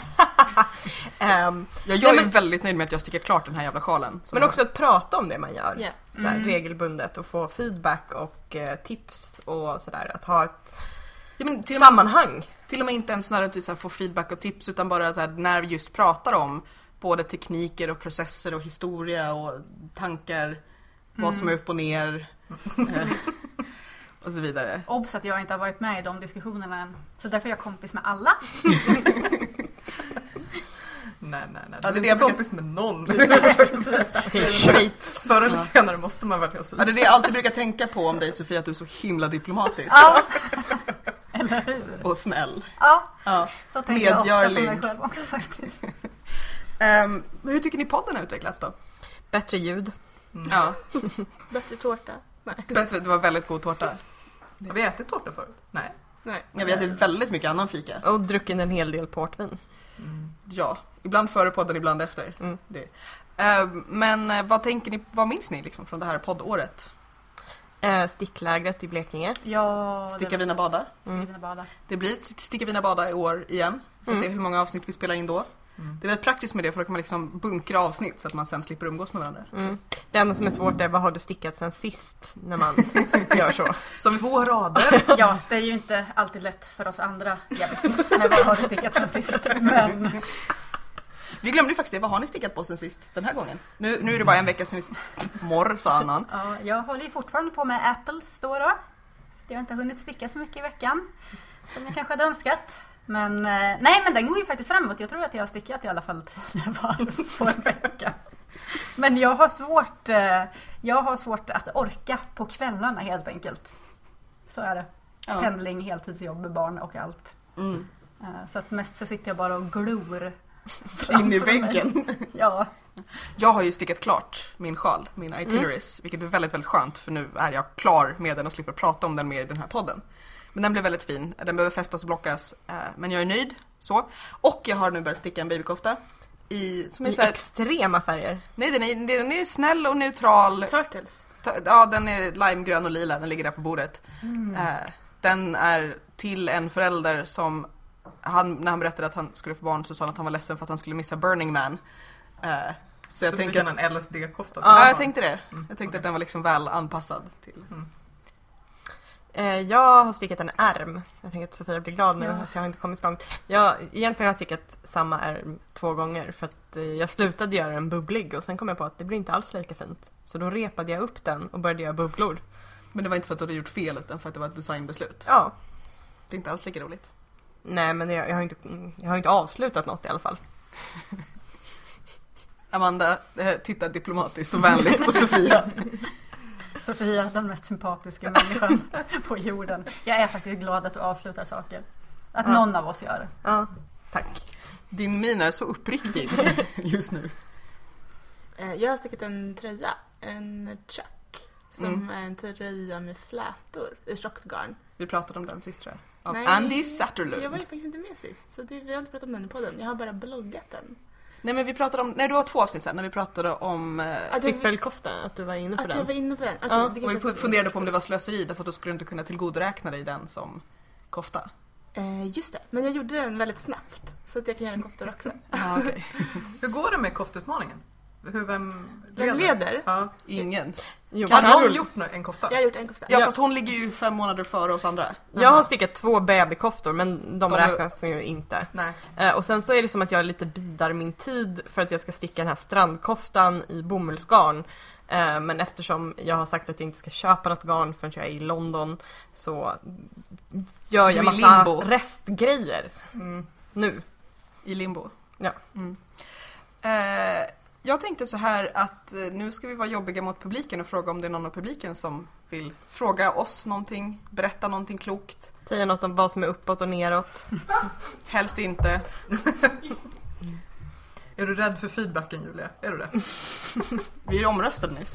[SPEAKER 3] Ehm,
[SPEAKER 1] Ja, jag
[SPEAKER 3] Nej,
[SPEAKER 1] är
[SPEAKER 3] men-
[SPEAKER 1] väldigt nöjd med att jag stickar klart den här jävla sjalen. som
[SPEAKER 3] men
[SPEAKER 1] jag-
[SPEAKER 3] också att prata om det man gör
[SPEAKER 5] Ja.
[SPEAKER 3] så här,
[SPEAKER 4] Mm.
[SPEAKER 3] regelbundet och få feedback och eh, tips och sådär. Att ha ett
[SPEAKER 1] ja, men till, och med,
[SPEAKER 3] sammanhang.
[SPEAKER 1] till och med inte ens nödvändigtvis att få feedback och tips utan bara så här, när vi just pratar om både tekniker och processer och historia och tankar, vad som är upp och ner eh, *laughs* och så vidare.
[SPEAKER 4] Obs att jag inte har varit med i de diskussionerna än. Så därför är jag kompis med alla.
[SPEAKER 2] Nej, nej, nej.
[SPEAKER 1] Ja, det är
[SPEAKER 2] Du
[SPEAKER 1] det
[SPEAKER 2] är
[SPEAKER 1] jag
[SPEAKER 2] inte
[SPEAKER 1] brukar-
[SPEAKER 2] kompis med
[SPEAKER 3] *laughs*
[SPEAKER 2] någon. *laughs*
[SPEAKER 3] Schweiz.
[SPEAKER 2] Förr eller senare måste man välja
[SPEAKER 1] Ja,
[SPEAKER 2] sida.
[SPEAKER 1] det är det jag alltid brukar tänka på om dig Sofia, att du är så himla diplomatisk
[SPEAKER 4] Ja. *laughs* Eller hur?
[SPEAKER 1] och snäll.
[SPEAKER 4] Ja,
[SPEAKER 1] Ja.
[SPEAKER 4] så tänker jag ofta på mig
[SPEAKER 1] Medgörlig.
[SPEAKER 4] själv också faktiskt.
[SPEAKER 1] Ehm, hur tycker ni podden har utvecklats då?
[SPEAKER 3] Bättre ljud.
[SPEAKER 1] Ja,
[SPEAKER 5] Bättre tårta. Nej.
[SPEAKER 1] bättre, det var väldigt god tårta.
[SPEAKER 2] Har vi ätit tårta förut? Nej.
[SPEAKER 5] Nej.
[SPEAKER 1] Ja, vi hade väldigt mycket annan fika.
[SPEAKER 3] Och druckit en hel del portvin.
[SPEAKER 1] Ja, ibland före podden, ibland efter.
[SPEAKER 3] Mm.
[SPEAKER 1] Det. Ehm, men eh, vad tänker ni, vad minns ni liksom från det här poddåret?
[SPEAKER 3] Eh, sticklägret i Blekinge.
[SPEAKER 4] Ja,
[SPEAKER 1] Sticka vina bada.
[SPEAKER 4] Mm. Bada.
[SPEAKER 1] Det blir ett Sticka vina bada i år igen. Får se hur många avsnitt vi spelar in då.
[SPEAKER 2] Mm.
[SPEAKER 1] Det är väldigt praktiskt med det för då kan man liksom bunkra avsnitt så att man sen slipper umgås med varandra.
[SPEAKER 3] Mm. Det enda som är svårt är vad har du stickat sen sist när
[SPEAKER 2] *laughs*
[SPEAKER 3] man gör så.
[SPEAKER 1] Så vi får rader.
[SPEAKER 4] Ja, det är ju inte alltid lätt för oss andra jämt. Men vad har du stickat sen sist? Men
[SPEAKER 1] Vi glömde ju faktiskt det, vad har ni stickat på sen sist den här gången? Nu, nu är det bara en vecka sen vi... Morr sa
[SPEAKER 4] *laughs*
[SPEAKER 1] annan.
[SPEAKER 4] ja, jag håller ju fortfarande på med apples då. då. Jag har inte hunnit sticka så mycket i veckan som jag kanske hade önskat. Men eh, nej, men den går ju faktiskt framåt. Jag tror att jag har stickat i alla fall *laughs* tio varv på en vecka. Men jag har svårt, eh, jag har svårt att orka på kvällarna helt enkelt. Så är det.
[SPEAKER 1] Ja.
[SPEAKER 4] Pendling, heltidsjobb, barn och allt.
[SPEAKER 1] Mm.
[SPEAKER 4] Eh, Så att mest så sitter jag bara och glor.
[SPEAKER 1] In i
[SPEAKER 4] framför mig.
[SPEAKER 1] väggen.
[SPEAKER 4] Ja.
[SPEAKER 1] Jag har ju stickat klart min sjal, min itineraries, vilket är väldigt, väldigt skönt för nu är jag klar med den och slipper prata om den mer i den här podden. Men den blev väldigt fin, den behöver fästas och blockas, eh, men jag är nöjd så. Och jag har nu börjat sticka en babykofta i, som är
[SPEAKER 3] I
[SPEAKER 1] så här,
[SPEAKER 3] extrema färger.
[SPEAKER 1] nej den är, den är snäll och neutral,
[SPEAKER 5] Turtles.
[SPEAKER 1] Ta- ja den är limegrön och lila, den ligger där på bordet. Eh, den är till en förälder som, han, när han berättade att han skulle få barn så sa han att han var ledsen för att han skulle missa Burning Man. Eh, så jag
[SPEAKER 2] så
[SPEAKER 1] tänker
[SPEAKER 2] fick han en LSD-kofta.
[SPEAKER 1] Ja, jag tänkte det.
[SPEAKER 5] Mm,
[SPEAKER 1] Jag tänkte att den var liksom väl anpassad till.
[SPEAKER 3] Eh, jag har stickat en ärm. Jag tänker att Sofia blir glad nu
[SPEAKER 4] Ja.
[SPEAKER 3] att jag inte kommit så långt. Jag, egentligen har jag stickat samma ärm två gånger för att eh, jag slutade göra den bubblig och sen kom jag på att det blir inte alls lika fint. Så då repade jag upp den och började göra bubblor.
[SPEAKER 1] Men det var inte för att du hade gjort fel utan för att det var ett designbeslut.
[SPEAKER 3] Ja,
[SPEAKER 1] Det är inte alls lika roligt.
[SPEAKER 3] nej men jag, jag, har, inte, jag har inte avslutat något i alla fall.
[SPEAKER 1] Amanda eh, tittar diplomatiskt och vänligt
[SPEAKER 5] *laughs*
[SPEAKER 1] på Sofia.
[SPEAKER 4] Sofia, den mest sympatiska *laughs* människan på jorden. Jag är faktiskt glad att du avslutar saker. Att
[SPEAKER 3] Ja.
[SPEAKER 4] någon av oss gör det.
[SPEAKER 3] Ja, tack.
[SPEAKER 1] Din min är så uppriktig just nu.
[SPEAKER 5] Eh, Jag har stickat en tröja, en chuck. Som
[SPEAKER 1] Mm.
[SPEAKER 5] är en tröja med flätor i tjockt garn.
[SPEAKER 1] Vi pratade om den sist tror jag. Av
[SPEAKER 5] Nej.
[SPEAKER 1] Andy
[SPEAKER 5] Jag var ju
[SPEAKER 1] Satterlund.
[SPEAKER 5] faktiskt inte med sist, så det, vi har inte pratat om den i podden. Jag har bara bloggat den.
[SPEAKER 1] Nej men vi pratade om, nej det var två avsnitt sen när vi pratade om eh,
[SPEAKER 5] Att jag-
[SPEAKER 3] Trippelkofta, att du var inne på
[SPEAKER 5] Att jag
[SPEAKER 3] den.
[SPEAKER 5] var inne på den? Okej,
[SPEAKER 3] Ja,
[SPEAKER 5] det
[SPEAKER 1] och
[SPEAKER 5] kanske
[SPEAKER 1] vi
[SPEAKER 5] jag ska-
[SPEAKER 1] funderade på om det var slöseri därför att då skulle du inte kunna tillgodoräkna dig den som kofta.
[SPEAKER 5] Eh, just det, men jag gjorde den väldigt snabbt. Så att jag kan göra koftor också.
[SPEAKER 1] Ja, okej.
[SPEAKER 2] Hur går det med koftutmaningen? Hur, vem
[SPEAKER 5] Jag leder.
[SPEAKER 2] Ja.
[SPEAKER 1] Ingen.
[SPEAKER 3] Jo,
[SPEAKER 1] Kan
[SPEAKER 2] Har
[SPEAKER 1] Rull-
[SPEAKER 2] någon gjort nå- en kofta?
[SPEAKER 5] Jag har gjort en kofta.
[SPEAKER 1] Ja fast hon ligger ju fem månader före oss andra.
[SPEAKER 3] jag har stickat två babykoftor men de
[SPEAKER 1] De-
[SPEAKER 3] räknas ju inte.
[SPEAKER 2] Nej.
[SPEAKER 3] Eh, Och sen så är det som att jag lite bidar min tid för att jag ska sticka den här strandkoftan i bomullsgarn. Eh, Men eftersom jag har sagt att jag inte ska köpa något garn förrän jag är i London så
[SPEAKER 1] Du
[SPEAKER 3] gör
[SPEAKER 1] är
[SPEAKER 3] jag
[SPEAKER 1] i
[SPEAKER 3] massa
[SPEAKER 1] limbo. Mm.
[SPEAKER 3] restgrejer nu.
[SPEAKER 1] I limbo?
[SPEAKER 3] Ja.
[SPEAKER 1] Mm. Eh, jag tänkte så här att eh, nu ska vi vara jobbiga mot publiken och fråga om det är någon av publiken som vill fråga oss någonting, berätta någonting klokt,
[SPEAKER 3] Säga något om vad som är uppåt och neråt.
[SPEAKER 1] helst inte.
[SPEAKER 2] *laughs* Är du rädd för feedbacken Julia?
[SPEAKER 1] *laughs*
[SPEAKER 2] Är du det?
[SPEAKER 1] Vi är omröstade nyss.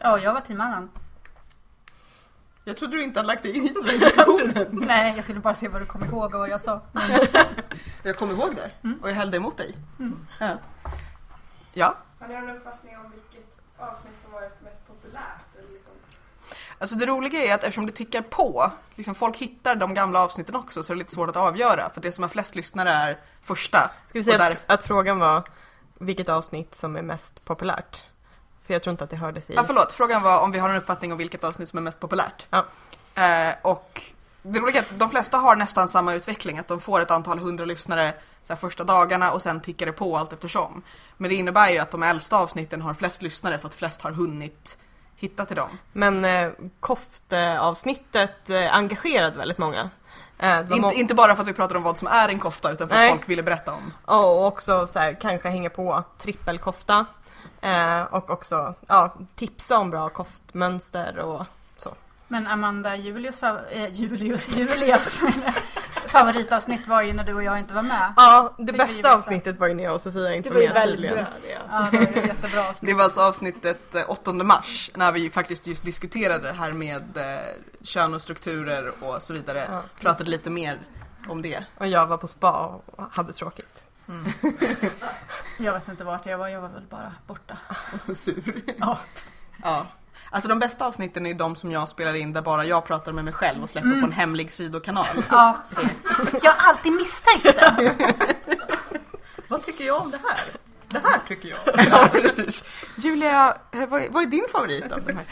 [SPEAKER 4] Ja, jag var team annan.
[SPEAKER 2] Jag trodde du inte hade lagt dig in i *laughs* den här diskussionen.
[SPEAKER 4] Nej, jag skulle bara se vad du kom ihåg och vad jag sa.
[SPEAKER 2] Jag kom ihåg det
[SPEAKER 1] Mm.
[SPEAKER 2] och jag hällde emot dig. Ja.
[SPEAKER 1] Ja.
[SPEAKER 8] Har ni någon uppfattning om vilket avsnitt som varit mest populärt? Eller liksom?
[SPEAKER 1] Alltså det roliga är att eftersom det tickar på, liksom folk hittar de gamla avsnitten också så är det lite svårt att avgöra för det som har flest lyssnare är första. *laughs*
[SPEAKER 3] Ska vi
[SPEAKER 1] Och
[SPEAKER 3] säga
[SPEAKER 1] där-
[SPEAKER 3] att, att frågan var vilket avsnitt som är mest populärt? För jag tror inte att det hördes i.
[SPEAKER 1] Ja, förlåt, frågan var om vi har en uppfattning om vilket avsnitt som är mest populärt.
[SPEAKER 3] Ja.
[SPEAKER 1] Eh, och det roliga är att de flesta har nästan samma utveckling, att de får ett antal hundra lyssnare så här, första dagarna och sen tickar det på allt eftersom. Men det innebär ju att de äldsta avsnitten har flest lyssnare för att flest har hunnit hitta till dem.
[SPEAKER 3] Men eh, kofteavsnittet eh, engagerade väldigt många. Eh, det var må-
[SPEAKER 1] Inte, inte bara för att vi pratar om vad som är en kofta utan för att
[SPEAKER 3] Nej.
[SPEAKER 1] folk ville berätta om.
[SPEAKER 3] Ja, och också så här, kanske hänga på trippelkofta. Eh, och också ja, tipsa om bra koftmönster och så.
[SPEAKER 4] Men Amanda Julius, fav- eh, Julius, *laughs* Julias favoritavsnitt var ju när du och jag inte var med.
[SPEAKER 3] Ja, det
[SPEAKER 4] vi
[SPEAKER 3] bästa
[SPEAKER 4] veta.
[SPEAKER 3] avsnittet var ju när jag och Sofia inte
[SPEAKER 5] Det
[SPEAKER 3] var
[SPEAKER 5] var ju
[SPEAKER 3] med
[SPEAKER 5] väldigt
[SPEAKER 3] tydligen.
[SPEAKER 5] bra det. Alltså.
[SPEAKER 4] Ja, det var ju ett jättebra avsnitt.
[SPEAKER 1] Det var alltså avsnittet eh, 8 mars när vi faktiskt just diskuterade det här med eh, kön och strukturer och så vidare.
[SPEAKER 3] Ja.
[SPEAKER 1] Pratade lite mer om det.
[SPEAKER 3] Och jag var på spa och hade tråkigt.
[SPEAKER 4] Jag vet inte vart jag var, jag var väl bara borta.
[SPEAKER 1] Sur.
[SPEAKER 4] Ja.
[SPEAKER 1] Ja. Alltså de bästa avsnitten är de som jag spelar in där bara jag pratar med mig själv och släpper
[SPEAKER 2] Mm.
[SPEAKER 1] på en hemlig sidokanal.
[SPEAKER 4] Ja. Jag har alltid misstänkt det.
[SPEAKER 2] Vad tycker jag om det här? Det här tycker jag.
[SPEAKER 1] *laughs* Ja, precis. Julia, eh, vad är, vad är din favorit av de här?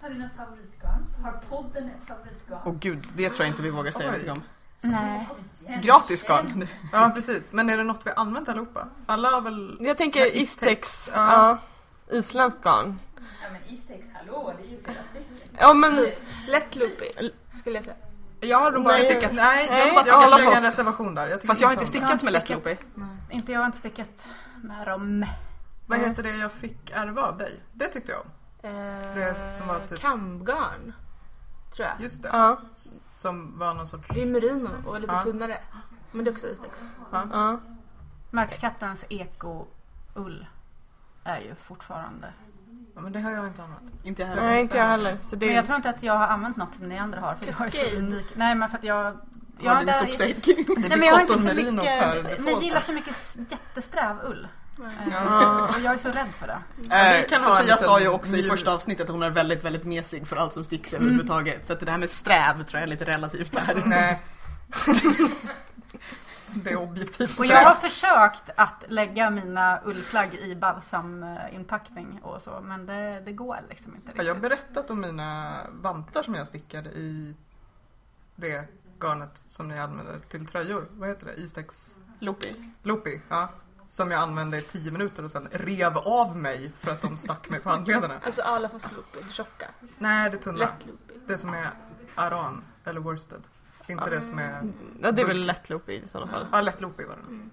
[SPEAKER 7] Har du något favoritgarn? Har podden ett favoritgarn?
[SPEAKER 1] Åh gud, det tror jag inte vi vågar säga
[SPEAKER 2] Oj.
[SPEAKER 1] någonting om.
[SPEAKER 4] Nej.
[SPEAKER 7] En
[SPEAKER 1] Gratis
[SPEAKER 7] tjej.
[SPEAKER 1] garn.
[SPEAKER 2] Ja precis, men är det något vi har använt allihopa? Alla har väl...
[SPEAKER 3] Jag tänker
[SPEAKER 2] Men
[SPEAKER 3] Istex,
[SPEAKER 2] Istex,
[SPEAKER 3] ja. isländskt garn.
[SPEAKER 7] Ja men Istex, hallå, det är ju flera stycken.
[SPEAKER 3] Ja men
[SPEAKER 5] Lätt loopy skulle jag säga.
[SPEAKER 1] Jag har nog bara
[SPEAKER 3] Nej.
[SPEAKER 1] stickat,
[SPEAKER 2] Nej, jag
[SPEAKER 3] Nej,
[SPEAKER 2] vill bara
[SPEAKER 3] jag håller
[SPEAKER 2] jag lägga en
[SPEAKER 3] fast.
[SPEAKER 2] reservation där. Jag tycker
[SPEAKER 1] fast jag har
[SPEAKER 2] om
[SPEAKER 1] inte
[SPEAKER 2] det.
[SPEAKER 1] stickat med lättloopy.
[SPEAKER 4] Inte jag har inte stickat med dem.
[SPEAKER 2] Vad heter det jag fick ärva av dig? Det tyckte jag om. Det som var typ-
[SPEAKER 5] Eh, Kamgarn. Tror jag.
[SPEAKER 2] Just det.
[SPEAKER 3] ja,
[SPEAKER 2] Som var någon sorts...
[SPEAKER 5] Det är merino och lite
[SPEAKER 2] Ja.
[SPEAKER 5] tunnare. Men det är också istex.
[SPEAKER 3] ja.
[SPEAKER 4] Markskattens eko-ull är ju fortfarande.
[SPEAKER 2] Ja, men det har jag inte använt.
[SPEAKER 1] Inte jag heller.
[SPEAKER 3] Nej inte jag heller. Så det
[SPEAKER 4] Men
[SPEAKER 3] är
[SPEAKER 4] jag tror inte att jag har använt något som ni andra har. För jag är så
[SPEAKER 5] Cascade.
[SPEAKER 4] unik. Nej men för att jag...
[SPEAKER 1] Jag har din
[SPEAKER 4] där-
[SPEAKER 1] sopsäck.
[SPEAKER 2] Det
[SPEAKER 4] Nej men jag har inte
[SPEAKER 2] cotton
[SPEAKER 4] så
[SPEAKER 2] merino per
[SPEAKER 4] mycket... Ni
[SPEAKER 2] default.
[SPEAKER 4] gillar så mycket s- jättesträv ull.
[SPEAKER 2] Ja.
[SPEAKER 4] Eh, Och jag är så rädd för det.
[SPEAKER 2] Ja, vi
[SPEAKER 1] Eh,
[SPEAKER 2] kan ha en
[SPEAKER 1] Sofia
[SPEAKER 2] liten
[SPEAKER 1] sa ju också i
[SPEAKER 2] mjul.
[SPEAKER 1] första avsnittet att hon är väldigt, väldigt mesig för allt som sticks
[SPEAKER 4] Mm.
[SPEAKER 1] överhuvudtaget. Så att det här med sträv tror jag är lite relativt
[SPEAKER 4] *laughs*
[SPEAKER 1] där.
[SPEAKER 2] Nej. *laughs* det är objektivt.
[SPEAKER 4] Och jag har försökt att lägga mina ullplagg i balsaminpackning och så men det, det går liksom inte
[SPEAKER 2] Har jag
[SPEAKER 4] riktigt.
[SPEAKER 2] berättat om mina vantar som jag stickade i det garnet som ni använder till tröjor? Vad heter det? Istex
[SPEAKER 1] Loopy.
[SPEAKER 2] Loopy? Ja. Som jag använde i 10 minuter och sen rev av mig för att de stack mig på handlederna.
[SPEAKER 5] Alltså alla fast loopy, det tjocka.
[SPEAKER 2] Nej, det tunna.
[SPEAKER 5] Lätt loopy.
[SPEAKER 2] Det som är aran eller worsted. Inte det som är...
[SPEAKER 3] ja, det är väl lättloop i sådana fall.
[SPEAKER 2] Ja, lätt loopy var det.
[SPEAKER 1] Mm.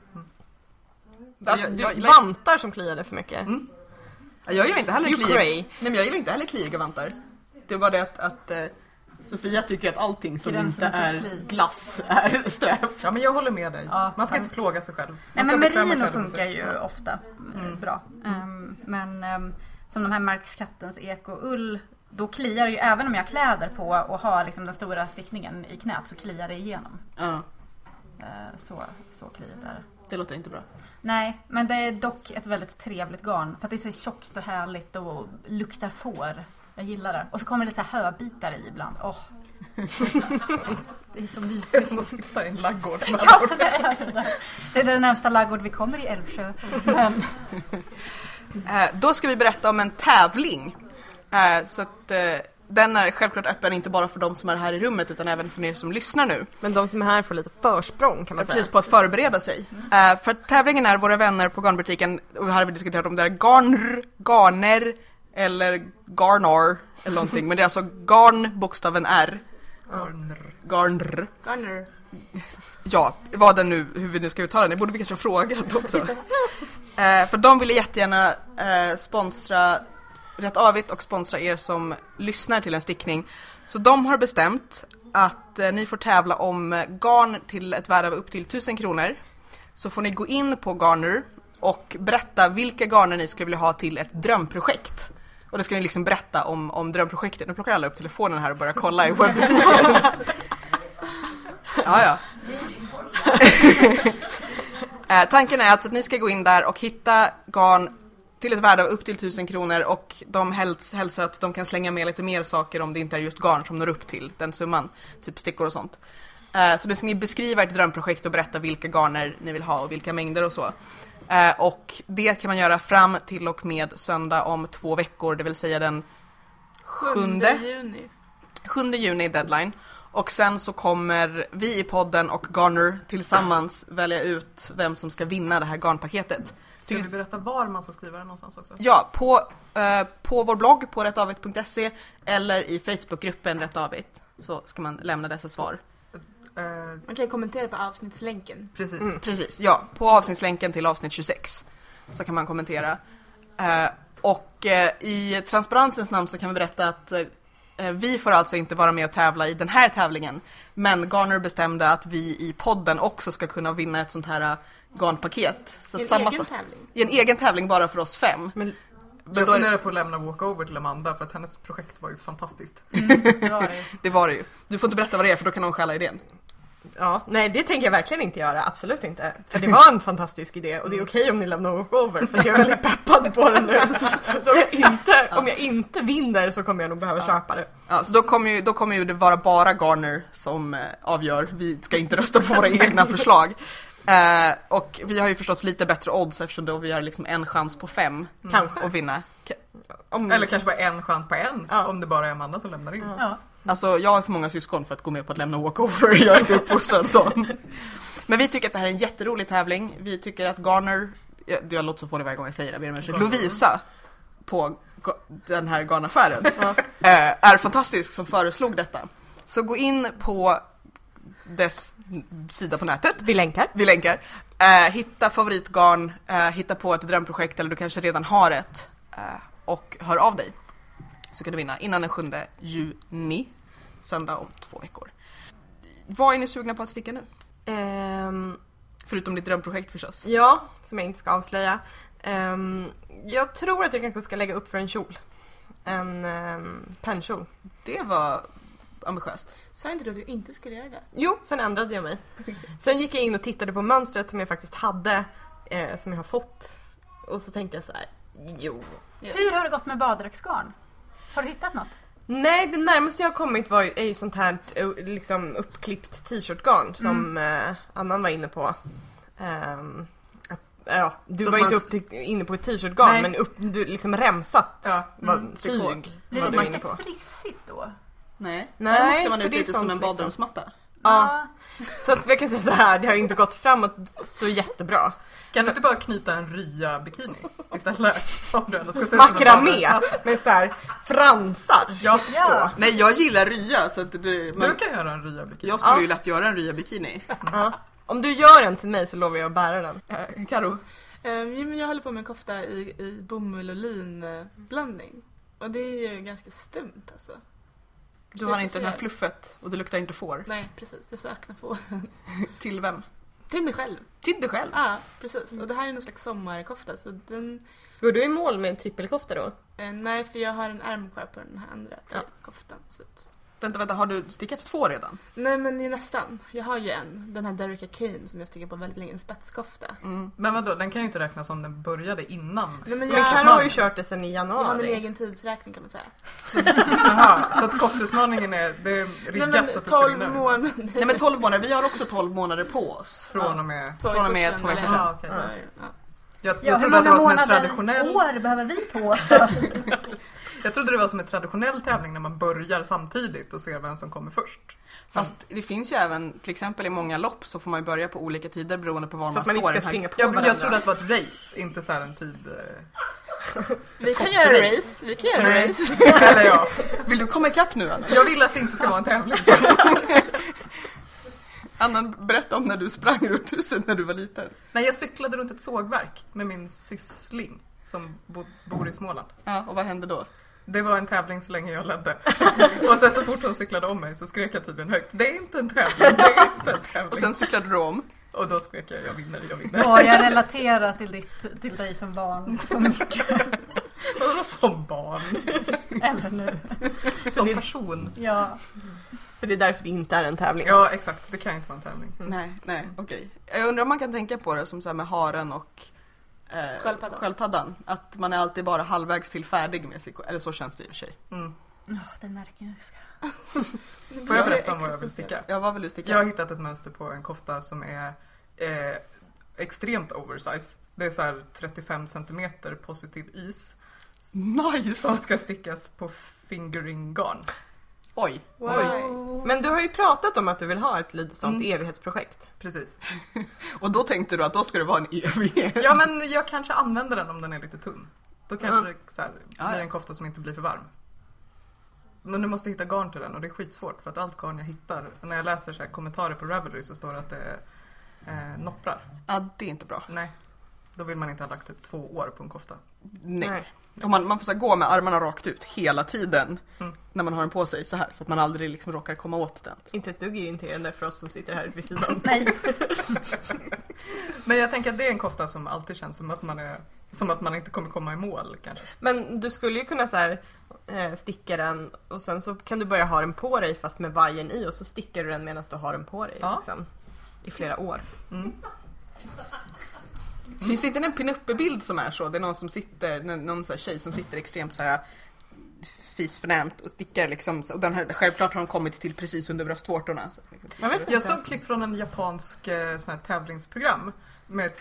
[SPEAKER 1] Alltså, jag, jag,
[SPEAKER 3] Vantar som kliade för mycket.
[SPEAKER 2] Mm.
[SPEAKER 1] jag, jag gillar inte heller
[SPEAKER 3] You
[SPEAKER 1] kli.
[SPEAKER 3] grey.
[SPEAKER 1] Nej men jag gillar inte heller kliiga vantar. Det var det att, att eh, Sofia tycker att allting som
[SPEAKER 4] Gränsen
[SPEAKER 1] inte
[SPEAKER 4] för
[SPEAKER 1] är
[SPEAKER 4] kli.
[SPEAKER 1] glass är *laughs* sträv.
[SPEAKER 2] Ja, men jag håller med dig.
[SPEAKER 4] Ja,
[SPEAKER 2] Man ska
[SPEAKER 4] tack.
[SPEAKER 2] inte plåga sig själv. Man
[SPEAKER 4] Nej
[SPEAKER 2] ska
[SPEAKER 4] men
[SPEAKER 2] bekväma
[SPEAKER 4] merino
[SPEAKER 2] kläder med
[SPEAKER 4] funkar
[SPEAKER 2] sig. Mm.
[SPEAKER 4] ju ofta eh, bra. Ehm, men ehm, som de här Marks Kattens ekoull då kliar det ju även om jag har kläder på och har liksom den stora stickningen i knät så kliar det igenom.
[SPEAKER 1] Ja,
[SPEAKER 4] Eh, så, så kliigt är det.
[SPEAKER 1] det låter inte bra.
[SPEAKER 4] Nej, men det är dock ett väldigt trevligt garn. För att det är så tjockt och härligt och luktar får. Jag gillar det. Och så kommer det lite så här höbitar i ibland.
[SPEAKER 2] *laughs*
[SPEAKER 4] Åh! det är så mysigt.
[SPEAKER 2] Det är som att sitta i
[SPEAKER 1] *laughs*
[SPEAKER 2] en laggård.
[SPEAKER 4] Ja, det är det. Det är den närmsta laggård vi kommer i
[SPEAKER 2] *laughs*
[SPEAKER 4] Älvsjö. Men
[SPEAKER 1] Eh, då ska vi berätta om en tävling. Eh, så att, eh, den är självklart öppen inte bara för de som är här i rummet utan även för er som lyssnar nu.
[SPEAKER 3] Men de som är här får lite försprång kan man säga. Mm.
[SPEAKER 1] Precis, på att förbereda sig. Eh, för att tävlingen är Våra vänner på garnbutiken, och här har vi diskuterat om det är garnr, garner eller garnor eller någonting. Men det är alltså garn, bokstaven R, garnr.
[SPEAKER 5] Garner.
[SPEAKER 1] Ja, vad den nu, hur vi nu ska uttala den, det borde vi kanske ha frågat också. eh, för de ville jättegärna eh, sponsra Rätt Avigt och sponsra er som lyssnar till en stickning. Så de har bestämt att eh, ni får tävla om eh, garn till ett värde av upp till 1000 kronor. Så får ni gå in på Garner och berätta vilka garner ni skulle vilja ha till ert drömprojekt. Och då ska ni liksom berätta om, om drömprojektet. Nu plockar alla upp telefonen här och börjar kolla i webbutiken. ja, ja. Eh, Tanken är alltså att ni ska gå in där och hitta garn till ett värde av upp till 1000 kronor och de häls- hälsar att de kan slänga med lite mer saker om det inte är just garn som når upp till den summan. Typ stickor och sånt. Eh, Så då ska ni beskriva ert drömprojekt och berätta vilka garner ni vill ha och vilka mängder och så. Eh, Och det kan man göra fram till och med söndag om två veckor, det vill säga den sjunde.
[SPEAKER 5] juni.
[SPEAKER 1] 7 juni är deadline. Och sen så kommer vi i podden och Garner tillsammans välja ut vem som ska vinna det här garnpaketet.
[SPEAKER 2] Ska vi berätta var man ska skriva det
[SPEAKER 4] *laughs*
[SPEAKER 2] någonstans också?
[SPEAKER 1] Ja, på, eh, på vår blogg på rättavigt.se eller i Facebookgruppen Rättavigt så ska man lämna dessa svar.
[SPEAKER 2] Eh,
[SPEAKER 5] Man kan kommentera på avsnittslänken.
[SPEAKER 2] precis.
[SPEAKER 1] Mm. Precis, ja. På avsnittslänken till avsnitt 26 så kan man kommentera. Eh, och eh, i transparensens namn så kan vi berätta att eh, vi får alltså inte vara med och tävla i den här tävlingen. Men Garner bestämde att vi i podden också ska kunna vinna ett sånt här eh, garnpaket. Så att
[SPEAKER 5] En
[SPEAKER 1] samma
[SPEAKER 5] egen
[SPEAKER 1] sak-
[SPEAKER 5] tävling.
[SPEAKER 1] I en egen tävling bara för oss fem.
[SPEAKER 2] Men
[SPEAKER 1] då är
[SPEAKER 2] jag
[SPEAKER 1] det-
[SPEAKER 2] funderar på att lämna walkover till Amanda för att hennes projekt var ju fantastiskt.
[SPEAKER 1] Det var det ju. Du får inte berätta vad det är för då kan någon stjäla idén.
[SPEAKER 3] Ja, nej det tänker jag verkligen inte göra, absolut inte. För det var en fantastisk idé
[SPEAKER 2] Mm.
[SPEAKER 3] och det är okej om ni lämnar walkover för jag är väldigt peppad på den
[SPEAKER 2] *laughs*
[SPEAKER 3] nu. Så om jag inte, om jag inte vinner så kommer jag nog behöva köpa det.
[SPEAKER 2] Mm.
[SPEAKER 1] Ja, så då kommer, ju, då kommer ju det vara bara Garner som eh, avgör. Vi ska inte rösta på våra egna förslag. Eh, och vi har ju förstås lite bättre odds eftersom då vi har liksom en chans på fem
[SPEAKER 3] Kanske.
[SPEAKER 1] att vinna. Ka-
[SPEAKER 3] Om,
[SPEAKER 2] *laughs* Eller kanske bara en chans på en
[SPEAKER 3] Ja.
[SPEAKER 2] om det bara är Amanda som lämnar in.
[SPEAKER 3] Ja.
[SPEAKER 1] Alltså jag har för många syskon för att gå med på att lämna walkover. Jag är inte uppfostrad sån. Men vi tycker att det här är en jätterolig tävling. Vi tycker att Garner, jag, jag låter så fånig varje gång jag säger det, jag ber om ursäkt.
[SPEAKER 2] Garner.
[SPEAKER 1] Lovisa på ga- den här garnaffären eh, är fantastisk som föreslog detta. Så gå in på dess sida på nätet
[SPEAKER 3] Vi länkar.
[SPEAKER 1] vi länkar. Eh, hitta favoritgarn, eh, hitta på ett drömprojekt eller du kanske redan har ett eh, och hör av dig. Så kan du vinna innan den 7 juni, söndag om två veckor. Vad är ni sugna på att sticka nu?
[SPEAKER 3] Ehm,
[SPEAKER 1] Förutom ditt drömprojekt förstås.
[SPEAKER 3] ja, som jag inte ska avslöja. Ehm, jag tror att jag kanske ska lägga upp för en kjol. En um, pennkjol.
[SPEAKER 1] Det var ambitiöst.
[SPEAKER 5] Sa inte du att du inte skulle göra det?
[SPEAKER 3] Jo, sen ändrade jag mig. Sen gick jag in och tittade på mönstret som jag faktiskt hade, eh, som jag har fått. Och så tänkte jag så här, jo.
[SPEAKER 4] Hur har det gått med baddräktsgarn? Har du hittat något?
[SPEAKER 3] Nej, det närmaste jag har kommit var ju, är ju sånt här eh, liksom uppklippt t-shirtgarn som eh, Annan var inne på. Ehm, att, ja, du
[SPEAKER 1] Så
[SPEAKER 3] var
[SPEAKER 1] att
[SPEAKER 3] inte
[SPEAKER 1] man-
[SPEAKER 3] upp till, inne på ett t-shirtgarn
[SPEAKER 2] Nej.
[SPEAKER 3] men upp, du, liksom remsat
[SPEAKER 1] Mm.
[SPEAKER 2] Ja.
[SPEAKER 3] var, tyg.
[SPEAKER 1] trikå.
[SPEAKER 4] Blir
[SPEAKER 3] var
[SPEAKER 4] det
[SPEAKER 3] du
[SPEAKER 4] lite
[SPEAKER 3] inne på.
[SPEAKER 4] frissigt då?
[SPEAKER 1] Nej,
[SPEAKER 3] Nej,
[SPEAKER 1] Däremot ser man
[SPEAKER 3] för
[SPEAKER 1] ut
[SPEAKER 3] det är
[SPEAKER 1] lite som
[SPEAKER 3] sånt
[SPEAKER 1] en
[SPEAKER 3] liksom.
[SPEAKER 1] badrumsmatta.
[SPEAKER 3] Ja, så att jag kan säga så här, det har inte gått framåt så jättebra.
[SPEAKER 2] Kan du inte bara knyta en rya bikini istället? *laughs* Om du ändå ska se ut som en
[SPEAKER 3] Makramé
[SPEAKER 2] barnlös.
[SPEAKER 3] med så här fransar.
[SPEAKER 2] Ja,
[SPEAKER 3] Så.
[SPEAKER 1] Nej, jag gillar rya så att det,
[SPEAKER 2] Du
[SPEAKER 1] man,
[SPEAKER 2] kan göra en rya bikini.
[SPEAKER 1] jag skulle
[SPEAKER 3] Ja.
[SPEAKER 1] ju lätt göra en rya-bikini.
[SPEAKER 3] Ja. Om du gör en till mig så lovar jag att bära den.
[SPEAKER 1] Eh, Karo,
[SPEAKER 5] Ehm, jo, men jag håller på med en kofta i, i bomull och linblandning. Och det är ju ganska stumt alltså.
[SPEAKER 1] du har inte det här
[SPEAKER 5] Supersnygg.
[SPEAKER 1] fluffet och det luktar inte får.
[SPEAKER 5] Nej precis, jag saknar på.
[SPEAKER 1] Till vem?
[SPEAKER 5] Till mig själv.
[SPEAKER 1] Till dig själv.
[SPEAKER 5] Ja precis. Och det här är någon slags sommarkofta så den...
[SPEAKER 3] Går du i mål med en trippelkofta då?
[SPEAKER 5] Eh, nej för jag har en ärm kvar på den här andra koftan. Så att...
[SPEAKER 1] Vänta, vänta, har du stickat två redan?
[SPEAKER 5] Nej men det är nästan. Jag har ju en. Den här Derricka Kane som jag sticker på väldigt länge. En spetskofta.
[SPEAKER 1] Mm.
[SPEAKER 2] Men vadå, den kan ju inte räknas om den började innan.
[SPEAKER 5] Nej, men
[SPEAKER 3] Men
[SPEAKER 5] jag,
[SPEAKER 3] Carro har ju kört det sedan i
[SPEAKER 5] jag har min
[SPEAKER 3] januari.
[SPEAKER 5] egen tidsräkning kan man säga.
[SPEAKER 2] Jaha, så att koftutmaningen är, det är
[SPEAKER 5] Nej
[SPEAKER 2] riggat så
[SPEAKER 5] men
[SPEAKER 2] att du ska
[SPEAKER 5] 12
[SPEAKER 2] vinna den.
[SPEAKER 5] månader.
[SPEAKER 1] Nej men 12 månader, vi har också 12 månader på oss.
[SPEAKER 2] Från och med...
[SPEAKER 1] Från och med två veckor sedan.
[SPEAKER 2] Ah, okej.
[SPEAKER 5] Ja, ja.
[SPEAKER 2] Jag,
[SPEAKER 7] Ja,
[SPEAKER 2] jag
[SPEAKER 7] hur
[SPEAKER 2] trodde att det
[SPEAKER 7] många
[SPEAKER 2] var som en
[SPEAKER 7] månader
[SPEAKER 2] traditionell...
[SPEAKER 7] år behöver vi på oss då?
[SPEAKER 2] Jag trodde det var som en traditionell tävling när man börjar samtidigt och ser vem som kommer först.
[SPEAKER 1] Fast det finns ju även, till exempel i många lopp så får man ju börja på olika tider beroende på var
[SPEAKER 3] Så
[SPEAKER 1] man,
[SPEAKER 3] att man
[SPEAKER 1] står.
[SPEAKER 3] inte
[SPEAKER 1] i
[SPEAKER 3] ska
[SPEAKER 1] den här-
[SPEAKER 3] springa på
[SPEAKER 2] Jag, jag
[SPEAKER 3] varandra.
[SPEAKER 2] trodde att det var ett race, inte så här en tid... eh,
[SPEAKER 5] Vi kan göra race. Vi kan göra
[SPEAKER 2] Nej.
[SPEAKER 5] race.
[SPEAKER 2] *laughs* Eller ja.
[SPEAKER 1] Vill du komma ikapp nu Anna? *laughs*
[SPEAKER 2] Jag vill att det inte ska vara en tävling. *laughs*
[SPEAKER 1] Anna, berätta om när du sprang runt huset när du var liten.
[SPEAKER 2] Nej, jag cyklade runt ett sågverk med min syssling som bo, bor i Småland.
[SPEAKER 1] Ja, och vad hände då?
[SPEAKER 2] Det var en tävling så länge jag ledde. *laughs* Och sen så fort hon cyklade om mig så skrek jag tydligen högt. Det är inte en tävling, det är inte en
[SPEAKER 1] *laughs*
[SPEAKER 2] tävling.
[SPEAKER 1] Och sen cyklade du om.
[SPEAKER 2] och då skrek jag jag vinner, jag vinner. *laughs*
[SPEAKER 7] Ja, jag relaterar till, ditt, till dig som barn så mycket.
[SPEAKER 2] Vadå som barn?
[SPEAKER 4] Eller nu.
[SPEAKER 3] Så
[SPEAKER 2] *laughs* Som
[SPEAKER 3] det-
[SPEAKER 2] person?
[SPEAKER 4] Ja.
[SPEAKER 3] Så det är därför det inte är en tävling.
[SPEAKER 2] Ja, exakt. Det kan inte vara en tävling.
[SPEAKER 1] Nej, nej, okej. Jag undrar om man kan tänka på det som så här med haren och eh,
[SPEAKER 5] Sköldpaddan.
[SPEAKER 1] sköldpaddan. Att man är alltid bara halvvägs till färdig med sig. Eller så känns det i och för sig.
[SPEAKER 2] Mm.
[SPEAKER 4] Ja, den närkiska.
[SPEAKER 2] Får jag
[SPEAKER 5] Ja,
[SPEAKER 2] berätta
[SPEAKER 5] det
[SPEAKER 2] om vad jag vill
[SPEAKER 5] existerar.
[SPEAKER 2] sticka?
[SPEAKER 1] Jag var väl just
[SPEAKER 2] Jag har hittat ett mönster på en kofta som är eh, extremt oversize. Det är så här 35 centimeter positiv is
[SPEAKER 1] Mm.
[SPEAKER 2] som
[SPEAKER 1] Nice!
[SPEAKER 2] ska stickas på fingering-garn.
[SPEAKER 1] Oj.
[SPEAKER 5] Wow.
[SPEAKER 3] Men du har ju pratat om att du vill ha ett litet sånt
[SPEAKER 2] Mm.
[SPEAKER 3] evighetsprojekt.
[SPEAKER 2] Precis.
[SPEAKER 1] Och då tänkte du att då ska det vara en evighet.
[SPEAKER 2] Ja men jag kanske använder den om den är lite tunn. Då kanske det så här,
[SPEAKER 1] Ja, ja.
[SPEAKER 2] blir en kofta som inte blir för varm. Men du måste hitta garn till den och det är skitsvårt för att allt garn jag hittar, när jag läser så här kommentarer på Ravelry så står det att det är eh, nopprar.
[SPEAKER 1] Ja, det är inte bra.
[SPEAKER 2] Nej, då vill man inte ha lagt typ två år på en kofta.
[SPEAKER 1] Nej. Och man, man får så här gå med armarna rakt ut hela tiden
[SPEAKER 2] Mm.
[SPEAKER 1] när man har den på sig så här så att man aldrig liksom råkar komma åt den.
[SPEAKER 3] Inte ett dugg irriterande för oss som sitter här vid sidan. *laughs*
[SPEAKER 4] Nej,
[SPEAKER 2] Men jag tänker att det är en kofta som alltid känns som att man, är, som att man inte kommer komma i mål kanske.
[SPEAKER 3] Men du skulle ju kunna så här, eh, sticka den och sen så kan du börja ha den på dig fast med vajern i och så stickar du den medan du har den på dig.
[SPEAKER 2] Ja.
[SPEAKER 3] Liksom, I flera år.
[SPEAKER 1] Finns det inte en pinuppe-bild som är så? Det är någon som sitter, någon- någon så här tjej som sitter extremt så här fisförnämt och stickar liksom. Och den här, självklart har de kommit till precis under bröstvårtorna. Så, liksom.
[SPEAKER 3] Jag vet inte.
[SPEAKER 2] Jag såg klipp från en japansk eh, sån här tävlingsprogram med